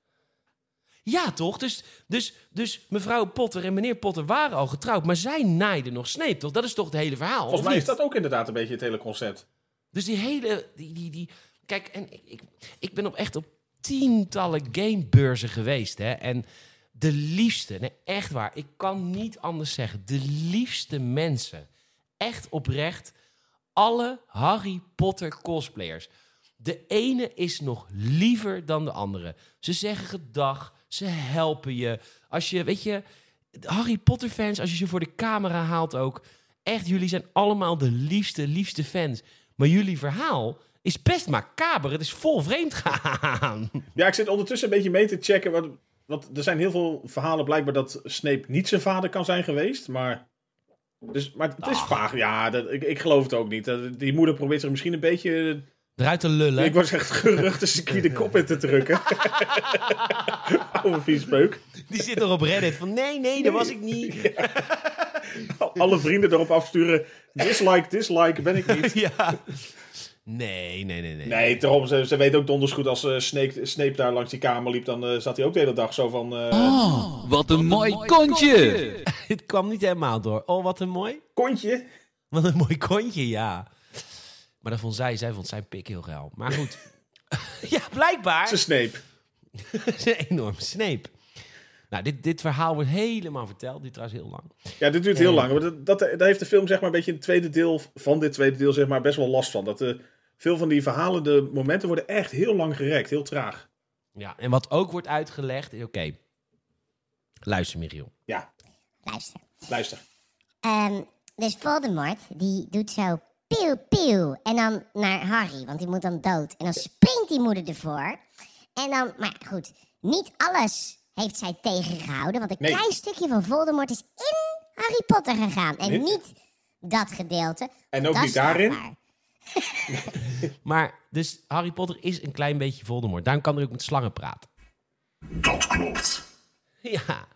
A: Ja, toch? Dus, dus, dus mevrouw Potter en meneer Potter waren al getrouwd. Maar zij naaiden nog Snape, toch? Dat is toch het hele verhaal?
B: Volgens
A: of
B: mij is
A: niet?
B: dat ook inderdaad een beetje het hele concept.
A: Dus die hele. Die, die, die, kijk, en ik, ik, ik ben op echt op tientallen gamebeurzen geweest. Hè? En de liefste, nee, echt waar. Ik kan niet anders zeggen. De liefste mensen. Echt oprecht. Alle Harry Potter cosplayers. De ene is nog liever dan de andere. Ze zeggen gedag. Ze helpen je. Als je, weet je, Harry Potter fans, als je ze voor de camera haalt ook. Echt, jullie zijn allemaal de liefste, liefste fans. Maar jullie verhaal is best macaber. Het is vol vreemd gaan.
B: Ja, ik zit ondertussen een beetje mee te checken. Wat, want er zijn heel veel verhalen blijkbaar dat Snape niet zijn vader kan zijn geweest. Maar, dus, maar het is
A: Ah.
B: vaag. Ja, dat, ik, ik geloof het ook niet. Dat- Die moeder probeert zich misschien een beetje...
A: Eruit te lullen.
B: Ik was echt geruchten de kop in te drukken. Over vies peuk.
A: Die zit er op Reddit van nee, nee, dat was ik niet.
B: Alle vrienden erop afsturen. Dislike, dislike, ben ik niet.
A: Ja. Nee, nee, nee, nee.
B: Nee, daarom, ze, ze weet ook donders goed als eh, Snape, Snape daar langs die kamer liep, dan eh, zat hij ook de hele dag zo van... eh,
F: Wat een mooi kontje!
A: Het kwam niet helemaal door. Oh, wat een mooi.
B: Kontje?
A: Wat een mooi kontje, ja. Maar dat vond zij, zij vond zijn pik heel geil. Maar goed. ja, blijkbaar.
B: Ze Snape.
A: Het is een enorme sneep. Nou, dit, dit verhaal wordt helemaal verteld. Dit trouwens heel lang.
B: Ja, dit duurt heel lang. want Dat, dat, eh, daar heeft de film zeg maar een beetje in het tweede deel van dit tweede deel zeg maar best wel last van. Dat eh, veel van die verhalen, de momenten worden echt heel lang gerekt, heel traag.
A: Ja, en wat ook wordt uitgelegd... Oké, luister Michiel.
B: Ja,
C: Luister.
B: luister.
C: Ehm, dus Voldemort, die doet zo pieuw, pieuw. En dan naar Harry, want die moet dan dood. En dan springt die moeder ervoor. En dan, maar ja, goed, niet alles heeft zij tegengehouden. Want een
B: Nee.
C: klein stukje van Voldemort is in Harry Potter gegaan. En
B: Nee.
C: niet dat gedeelte.
B: En ook
C: Dat
B: niet
C: is strafbaar.
B: daarin.
A: Maar dus Harry Potter is een klein beetje Voldemort. Daarom kan hij ook met slangen praten.
E: Dat klopt.
A: Ja.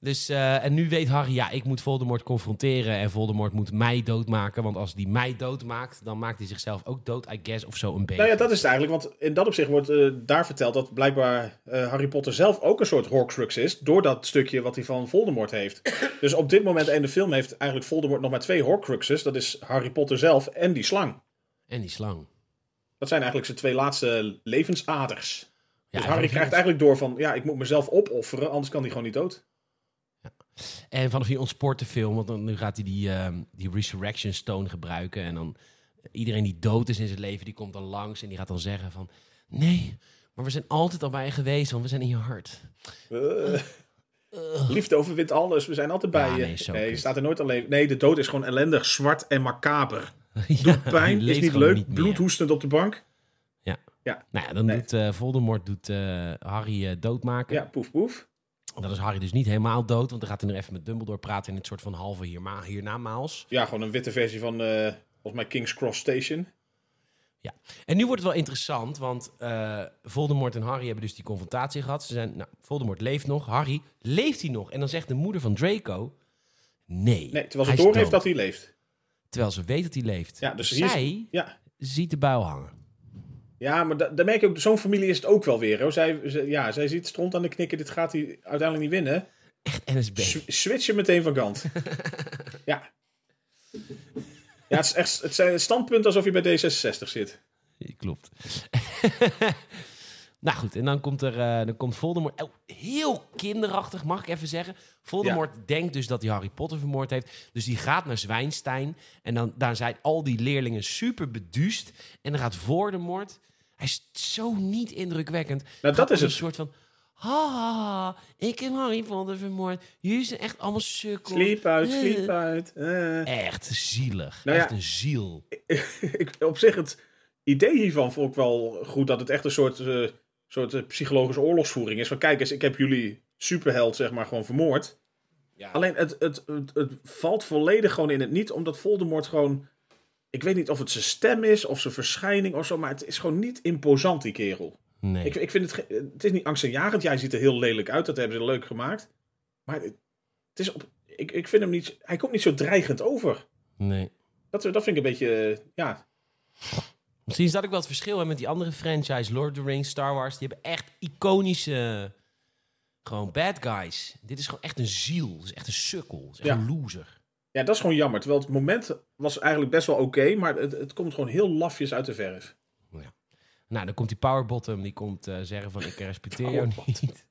A: Dus, eh, en nu weet Harry, ja, ik moet Voldemort confronteren en Voldemort moet mij doodmaken. Want als die mij doodmaakt, dan maakt hij zichzelf ook dood, I guess, of zo een beetje.
B: Nou ja, dat is het eigenlijk. Want in dat opzicht wordt eh, daar verteld dat blijkbaar eh, Harry Potter zelf ook een soort Horcrux is. Door dat stukje wat hij van Voldemort heeft. dus op dit moment in de film heeft eigenlijk Voldemort nog maar twee Horcruxes. Dat is Harry Potter zelf en die slang.
A: En die slang.
B: Dat zijn eigenlijk zijn twee laatste levensaders.
A: Ja,
B: dus Harry
A: vanaf
B: krijgt
A: hier
B: eigenlijk door van, ja, ik moet mezelf opofferen, anders kan hij gewoon niet dood.
A: ont- En vanaf hier ontspoort de film, want dan, nu gaat hij die, ehm, die Resurrection Stone gebruiken. En dan iedereen die dood is in zijn leven, die komt dan langs en die gaat dan zeggen van... Nee, maar we zijn altijd al bij je geweest, want we zijn in je hart.
B: Eh, Liefde overwint alles, we zijn altijd bij
A: Ja,
B: je.
A: nee, zo
B: nee, je
A: kut.
B: staat er nooit alleen. Nee, de dood is gewoon ellendig, zwart en macaber.
A: Ja, hij
B: Pijn is
A: leeft
B: niet
A: gewoon
B: leuk,
A: meer.
B: bloedhoestend op de bank.
A: Nou ja, dan
B: Nee.
A: doet eh, Voldemort doet, eh, Harry eh, doodmaken.
B: Ja, poef poef.
A: Dan is Harry dus niet helemaal dood, want dan gaat hij nog even met Dumbledore praten in het soort van halve hierma, hiernamaals.
B: Ja, gewoon een witte versie van, eh, volgens mij, King's Cross Station.
A: En nu wordt het wel interessant, want eh, Voldemort en Harry hebben dus die confrontatie gehad. Ze zijn, nou, Voldemort leeft nog, Harry leeft hij nog. En dan zegt de moeder van Draco, nee.
B: Nee, terwijl
A: hij
B: ze
A: is dood.
B: doorheeft dat hij leeft.
A: Terwijl ze weet dat hij leeft.
B: Ja, dus hier is-
A: Zij
B: Ja,
A: ziet de buil hangen.
B: ja maar da- daar merk je ook, zo'n familie is het ook wel weer. Hoor. Zij, ze- ja, zij ziet stront aan de knikken, dit gaat hij uiteindelijk niet winnen.
A: Echt NSB.
B: Sw- switchen meteen van kant. ja. Ja, het is echt het zijn standpunt alsof je bij D66 zit.
A: Klopt. nou goed, en dan komt er eh, dan komt Voldemort. Oh, heel kinderachtig, mag ik even zeggen. Voldemort denkt dus dat hij Harry Potter vermoord heeft. Dus die gaat naar Zwijnstein. En dan daar zijn al die leerlingen super beduust. En dan gaat Voldemort. Hij is zo niet indrukwekkend.
B: Nou, dat
A: Gaat
B: is
A: als
B: het.
A: Een soort van. Ha, ha, ha, ik heb Harry Potter vermoord. Jullie zijn echt allemaal sukkels.
B: Sleep uit,
A: Eh.
B: sleep uit. eh.
A: Echt zielig.
B: Nou ja.
A: Echt een ziel.
B: Ik, op zich, het idee hiervan vond ik wel goed. Dat het echt een soort, eh, soort eh, psychologische oorlogsvoering is. Van kijk eens, ik heb jullie superheld zeg maar gewoon vermoord. Alleen het, het, het, het valt volledig gewoon in het niet. Omdat Voldemort gewoon... Ik weet niet of het zijn stem is of zijn verschijning of zo. Maar het is gewoon niet imposant die kerel.
A: Nee.
B: Ik, ik vind het, ge- het is niet angstaanjagend. Jij ziet er heel lelijk uit. Dat hebben ze leuk gemaakt. Maar het het is op, ik, ik vind hem niet. Hij komt niet zo dreigend over.
A: nee.
B: Dat, dat vind ik een beetje. eh, Ja,
A: Misschien is dat ook wel het verschil hè, met die andere franchise, Lord of the Rings, Star Wars. Die hebben echt iconische, gewoon bad guys. Dit is gewoon echt een ziel. Het is echt een sukkel. Het is echt
B: Ja.
A: een loser.
B: ja, dat is gewoon jammer. Terwijl het moment was eigenlijk best wel oké. maar het, het komt gewoon heel lafjes uit de verf.
A: Nou, dan komt die powerbottom. Die komt eh, zeggen van, ik respecteer jou
B: Powerbottom.
A: niet.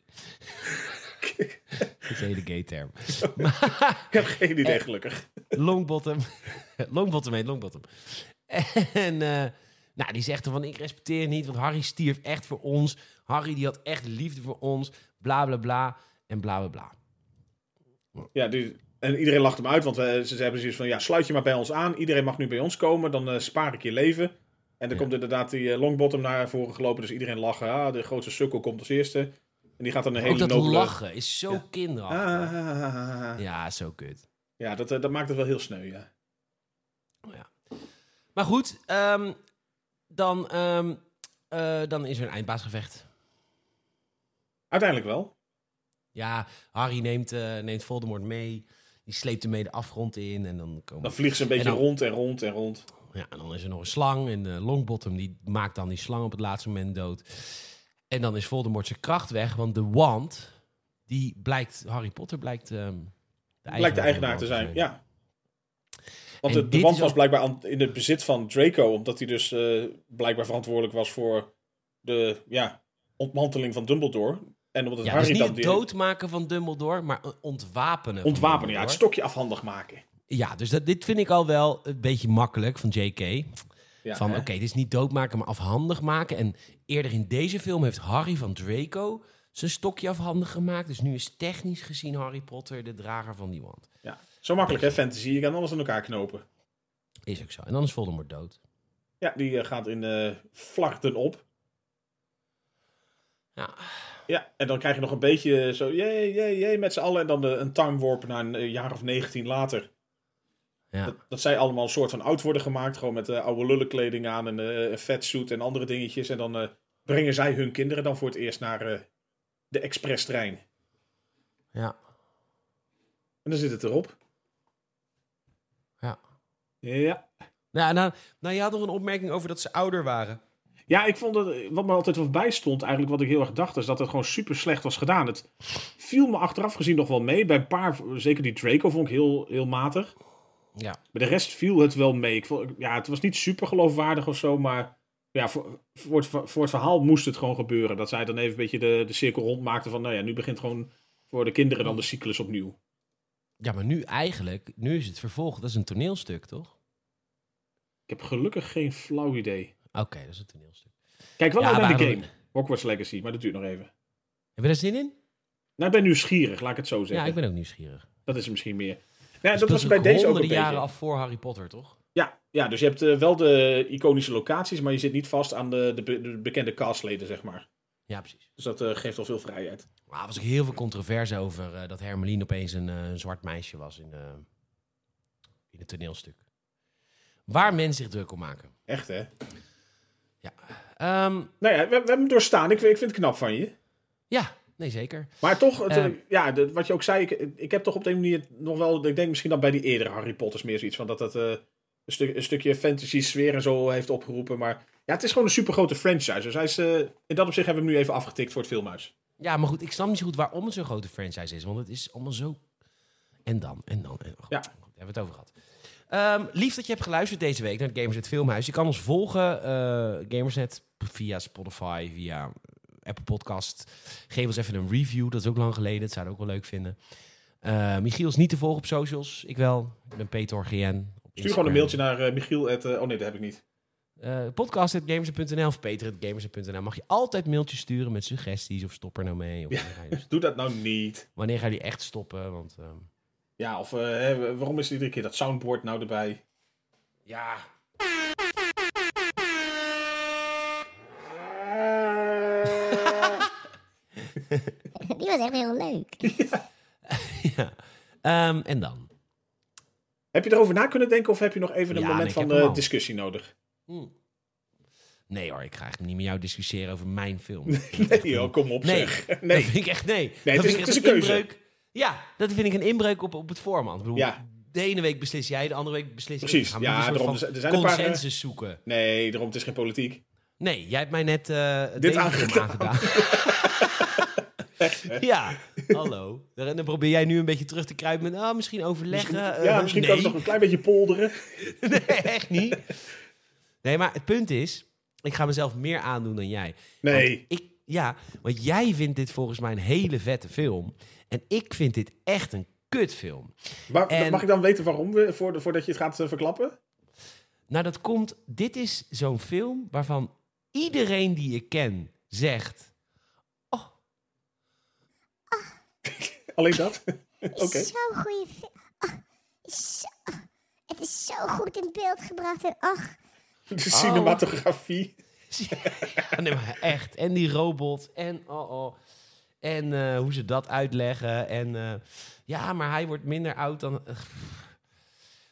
A: Dat is een hele gay term.
B: Ik heb geen idee, gelukkig.
A: Longbottom. longbottom heet Longbottom. En eh, nou, die zegt er van, ik respecteer niet, want Harry stierf echt voor ons. Harry die had echt liefde voor ons. Bla, bla, bla. En bla, bla, bla.
B: Ja, die, en iedereen lacht hem uit, want eh, ze, ze hebben zoiets van... Ja, sluit je maar bij ons aan. Iedereen mag nu bij ons komen. Dan eh, spaar ik je leven. En dan
A: Ja.
B: komt inderdaad die eh, longbottom naar voren gelopen. Dus iedereen lacht. Ah, de grootste sukkel komt als eerste. En die gaat dan een hele
A: Ook dat
B: nobele...
A: lachen is zo
B: Ja.
A: kinderachtig.
B: Ah.
A: Ja, zo kut.
B: Ja, dat, eh, dat maakt het wel heel sneu, ja.
A: Maar goed, ehm, dan, ehm, eh, dan is er een eindbaasgevecht.
B: Uiteindelijk wel.
A: Ja, Harry neemt, eh, neemt Voldemort mee. Die sleept hem mee de afgrond in. En dan komen
B: Dan vliegen ze een beetje
A: En dan-
B: rond en rond en rond.
A: Ja, en dan is er nog een slang. En eh, Longbottom die maakt dan die slang op het laatste moment dood. En dan is Voldemort zijn kracht weg. Want de wand, die blijkt... Harry Potter blijkt... ehm, de
B: Blijkt de eigenaar
A: van
B: te
A: wand
B: zijn, ja. Want
A: En
B: de, de
A: dit
B: wand
A: is
B: was
A: ook-
B: blijkbaar aan- in het bezit van Draco, omdat hij dus eh, blijkbaar verantwoordelijk was voor de ja, ontmanteling van Dumbledore. En omdat het
A: Ja, dus
B: Harry
A: niet
B: dan
A: het
B: die
A: doodmaken van Dumbledore, maar eh, ontwapenen. van
B: ontwapenen, ja,
A: Dumbledore.
B: het stokje afhandig maken.
A: Ja, dus dat, dit vind ik al wel een beetje makkelijk van J.K.
B: Ja,
A: van
B: hè?
A: oké, dit is niet doodmaken, maar afhandig maken. En eerder in deze film heeft Harry van Draco zijn stokje afhandig gemaakt. Dus nu is technisch gezien Harry Potter de drager van die wand.
B: ja. Zo makkelijk hè, fantasy, je kan alles aan elkaar knopen.
A: Is ook zo. En dan is Voldemort dood.
B: Ja, die eh, gaat in eh vlakten op.
A: Ja,
B: Ja, en dan krijg je nog een beetje eh, zo, jee, jee, jee, met z'n allen. En dan de, een time warp naar een eh, jaar of 19 later.
A: ja.
B: Dat, dat zij allemaal een soort van oud worden gemaakt. Gewoon met eh, oude lullenkleding aan en eh, een vetsuit en andere dingetjes. En dan eh, brengen zij hun kinderen dan voor het eerst naar eh, de expresstrein.
A: ja.
B: En dan zit het erop.
A: Ja.
B: Ja.
A: Nou, nou, nou, je had nog een opmerking over dat ze ouder waren.
B: Ja, ik vond dat, eh, wat me altijd wel bij stond, eigenlijk wat ik heel erg dacht, is dat het gewoon super slecht was gedaan. Het viel me achteraf gezien nog wel mee. Bij een paar, zeker die Draco vond ik heel, heel matig.
A: Ja.
B: Bij de rest viel het wel mee. Ik vond, ja, het was niet super geloofwaardig of zo, maar ja, voor, voor, het, voor het verhaal moest het gewoon gebeuren. Dat zij dan even een beetje de, de cirkel rondmaakten van, nou ja, nu begint gewoon voor de kinderen dan de cyclus opnieuw.
A: ja, maar nu eigenlijk, nu is het vervolg. Dat is een toneelstuk, toch?
B: Ik heb gelukkig geen flauw idee.
A: Oké, dat is een toneelstuk.
B: Kijk wel
A: Ja,
B: uit naar de
A: waarom-
B: game, Hogwarts Legacy, maar dat duurt nog even.
A: Heb je daar zin in?
B: Nou, ik ben nieuwsgierig, laat ik het zo zeggen.
A: Ja, ik ben ook nieuwsgierig. Dus
B: Dat is er misschien meer. Ja, dat
A: Speelt
B: was
A: zich
B: bij deze ook een
A: honderden
B: beetje.
A: jaren af voor Harry Potter, toch?
B: Ja, ja, dus je hebt eh, wel de iconische locaties, maar je zit niet vast aan de, de, be- de bekende castleden, zeg maar.
A: Ja, precies.
B: Dus dat eh, geeft al veel vrijheid.
A: Maar er was ook heel veel controverse over eh, dat Hermeline opeens een, eh, een zwart meisje was in, eh, in het toneelstuk. Waar mensen zich druk om maken.
B: Echt, hè?
A: Ehm,
B: Nou ja, we, we hebben hem doorstaan. Ik, ik vind het knap van je.
A: ja, nee zeker.
B: Maar toch, het,
A: Eh.
B: eh, ja, de- wat je ook zei, ik, ik heb toch op de een manier nog wel, ik denk misschien dat bij die eerdere Harry Potters meer zoiets van dat dat eh, een, stuk, een stukje fantasy sfeer en zo heeft opgeroepen. Maar ja, het is gewoon een supergrote franchise. Dus hij is, eh, in dat opzicht hebben we hem nu even afgetikt voor het filmhuis.
A: Ja, maar goed, ik snap niet zo goed waarom het zo'n grote franchise is. Want het is allemaal zo... En dan, en dan, en dan.
B: Ja.
A: Goed, daar hebben we het over gehad. Ehm, lief dat je hebt geluisterd deze week naar het Gamersnet Filmhuis. Je kan ons volgen, eh, Gamersnet, via Spotify, via Apple Podcast. Geef ons even een review, dat is ook lang geleden. Dat zouden we ook wel leuk vinden. Eh, Michiel is niet te volgen op socials, ik wel. Ik ben Peter GN. op
B: Stuur gewoon een
A: Instagram.
B: mailtje naar eh, Michiel. at, eh, oh nee, dat heb ik niet.
A: Eh, podcast.gamersnet.nl of peter.gamersnet.nl. Mag je altijd mailtjes sturen met suggesties of stop er nou mee. Of wanneer ga je-
B: Doe dat nou niet.
A: Wanneer gaan jullie echt stoppen? Want ehm,
B: Ja, of eh, hè, waarom is er iedere keer dat soundboard nou erbij?
A: ja.
C: Die was echt heel leuk.
A: ja. Ehm, en dan?
B: Heb je erover na kunnen denken of heb je nog even een
A: Ja,
B: moment
A: nee, ik
B: van
A: heb hem
B: eh,
A: al.
B: discussie nodig?
A: Nee hoor, ik ga echt niet met jou discussiëren over mijn film.
B: Nee, joh, kom op
A: nee,
B: zeg.
A: dat vind ik echt nee.
B: het
A: dat
B: is-
A: vind ik
B: het
A: echt
B: is een keuze.
A: inbreuk. Ja, dat vind ik een inbreuk op, op het format. Ik bedoel,
B: Ja.
A: De ene week beslis jij, de andere week beslis ik.
B: Precies,
A: We
B: ja,
A: moeten een
B: daarom,
A: soort van
B: er zijn een paar, eh,
A: consensus zoeken.
B: Nee, daarom, het is geen politiek.
A: Nee, jij hebt mij net eh
B: Dit
A: deze film aangedaan. ja, hallo. En dan probeer jij nu een beetje terug te kruipen met... ah, misschien overleggen.
B: ja,
A: eh,
B: misschien
A: nee.
B: kan ik nog een klein beetje polderen.
A: Nee, echt niet. Nee, maar het punt is, ik ga mezelf meer aandoen dan jij.
B: Nee.
A: Want ik, Ja, want jij vindt dit volgens mij een hele vette film. En ik vind dit echt een kutfilm.
B: Maar,
A: En-
B: Mag ik dan weten waarom, we, voor, voordat je het gaat eh, verklappen?
A: Nou, dat komt. Dit is zo'n film waarvan iedereen die ik ken zegt.
B: Alleen dat? Oké.
C: Zo'n goede film. Ah, zo- ah, het is zo goed in beeld gebracht. En ach,
A: Oh.
B: De cinematografie.
A: Ja, nee, maar echt. En die robot. En oh oh. En eh, hoe ze dat uitleggen. En eh, ja, maar hij wordt minder oud dan. eh,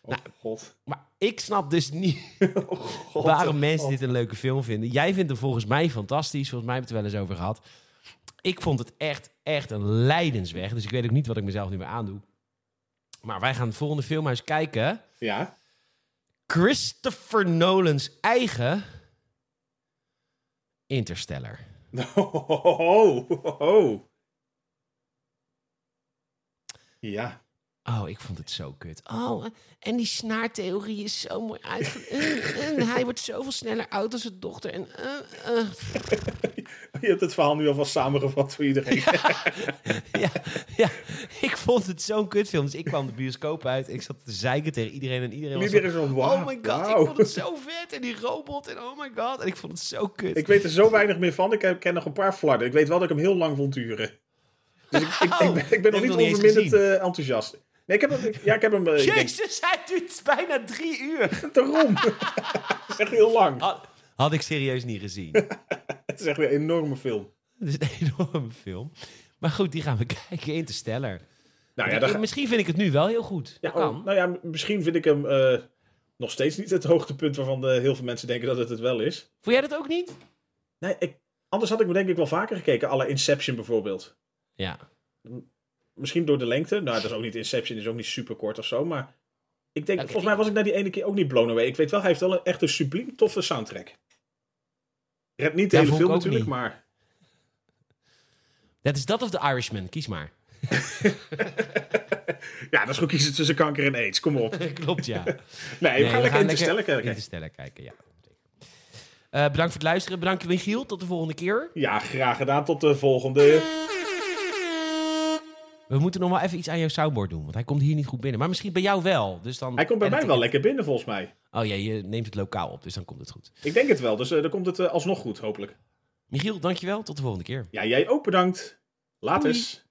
B: Oh,
A: Nou,
B: god.
A: Maar ik snap dus niet.
B: Oh, god.
A: waarom mensen dit een leuke film vinden. Jij vindt hem volgens mij fantastisch. Volgens mij hebben we het er wel eens over gehad. Ik vond het echt, echt een lijdensweg. Dus ik weet ook niet wat ik mezelf nu meer aandoe. Maar wij gaan het volgende filmhuis kijken.
B: Ja.
A: Christopher Nolan's eigen Interstellar.
B: Oh, oh, oh, oh. Ja.
A: Oh, ik vond het zo kut. Oh, eh, en die snaartheorie is zo mooi uitge... Eh, eh, hij wordt zoveel sneller oud als zijn dochter. En, eh, eh.
B: Je hebt het verhaal nu alvast samengevat voor iedereen.
A: ja, ja, ik vond het zo'n kutfilm. Dus ik kwam de bioscoop uit. Ik zat te zeiken tegen iedereen. En iedereen was
B: Iedereen
A: zo,
B: zo, wauw,
A: Oh my god,
B: wauw."
A: ik vond het zo vet. En die robot. En oh my god. En ik vond het zo kut.
B: Ik weet er zo weinig meer van. Ik heb- ken nog een paar flarden. Ik weet wel dat ik hem heel lang vond duren. Dus ik, ik, ik, ben, ik
A: Oh, heb
B: ben nog niet
A: nog niet eens
B: onverminderd eh, enthousiast. Nee, ik heb hem... ik- Ja, ik heb hem... eh, ik denk,
A: Jezus, hij duurt bijna drie uur.
B: daarom. Het is echt heel lang.
A: Had, had ik serieus niet gezien.
B: Het is echt weer een enorme film. Nou
A: Het is een enorme film. Maar goed, die gaan we kijken. Interstellar.
B: Nou ja, daar ga-
A: Misschien vind ik het nu wel heel goed.
B: ja,
A: Dat kan.
B: oh, nou ja, misschien vind ik hem eh, nog steeds niet het hoogtepunt... waarvan eh, heel veel mensen denken dat het het wel is.
A: Vond jij dat ook niet?
B: Nee, ik, anders had ik me denk ik wel vaker gekeken. Alle Inception bijvoorbeeld.
A: Ja.
B: Misschien door de lengte. Nou, dat is ook niet... Inception is ook niet super kort of zo, maar... Ik denk,
A: Oké.
B: volgens mij was ik na die ene keer ook niet blown away. Ik weet wel, hij heeft wel een echt een subliem toffe soundtrack. Red niet de
A: Ja, vond
B: hele
A: ik
B: film
A: ook
B: natuurlijk,
A: niet.
B: maar...
A: Dat is dat of The Irishman. Kies maar.
B: Ja, dat is goed kiezen tussen kanker en aids. Kom op. Nee,
A: Klopt, ja.
B: we gaan lekker Interstellar kijken.
A: Interstellar kijken, ja. Eh, bedankt voor het luisteren. Bedankt Michiel. Tot de volgende keer.
B: Ja, graag gedaan. Tot de volgende.
A: We moeten nog wel even iets aan jouw soundboard doen. Want hij komt hier niet goed binnen. Maar misschien bij jou wel. Dus dan
B: Hij komt bij
A: edit
B: mij
A: ik
B: wel
A: het-
B: lekker binnen, volgens mij.
A: Oh ja, je neemt het lokaal op. Dus dan komt het goed.
B: Ik denk het wel, dus eh, dan komt het eh, alsnog goed, hopelijk.
A: Michiel, dankjewel. Tot de volgende keer.
B: Ja, jij ook bedankt. Laters.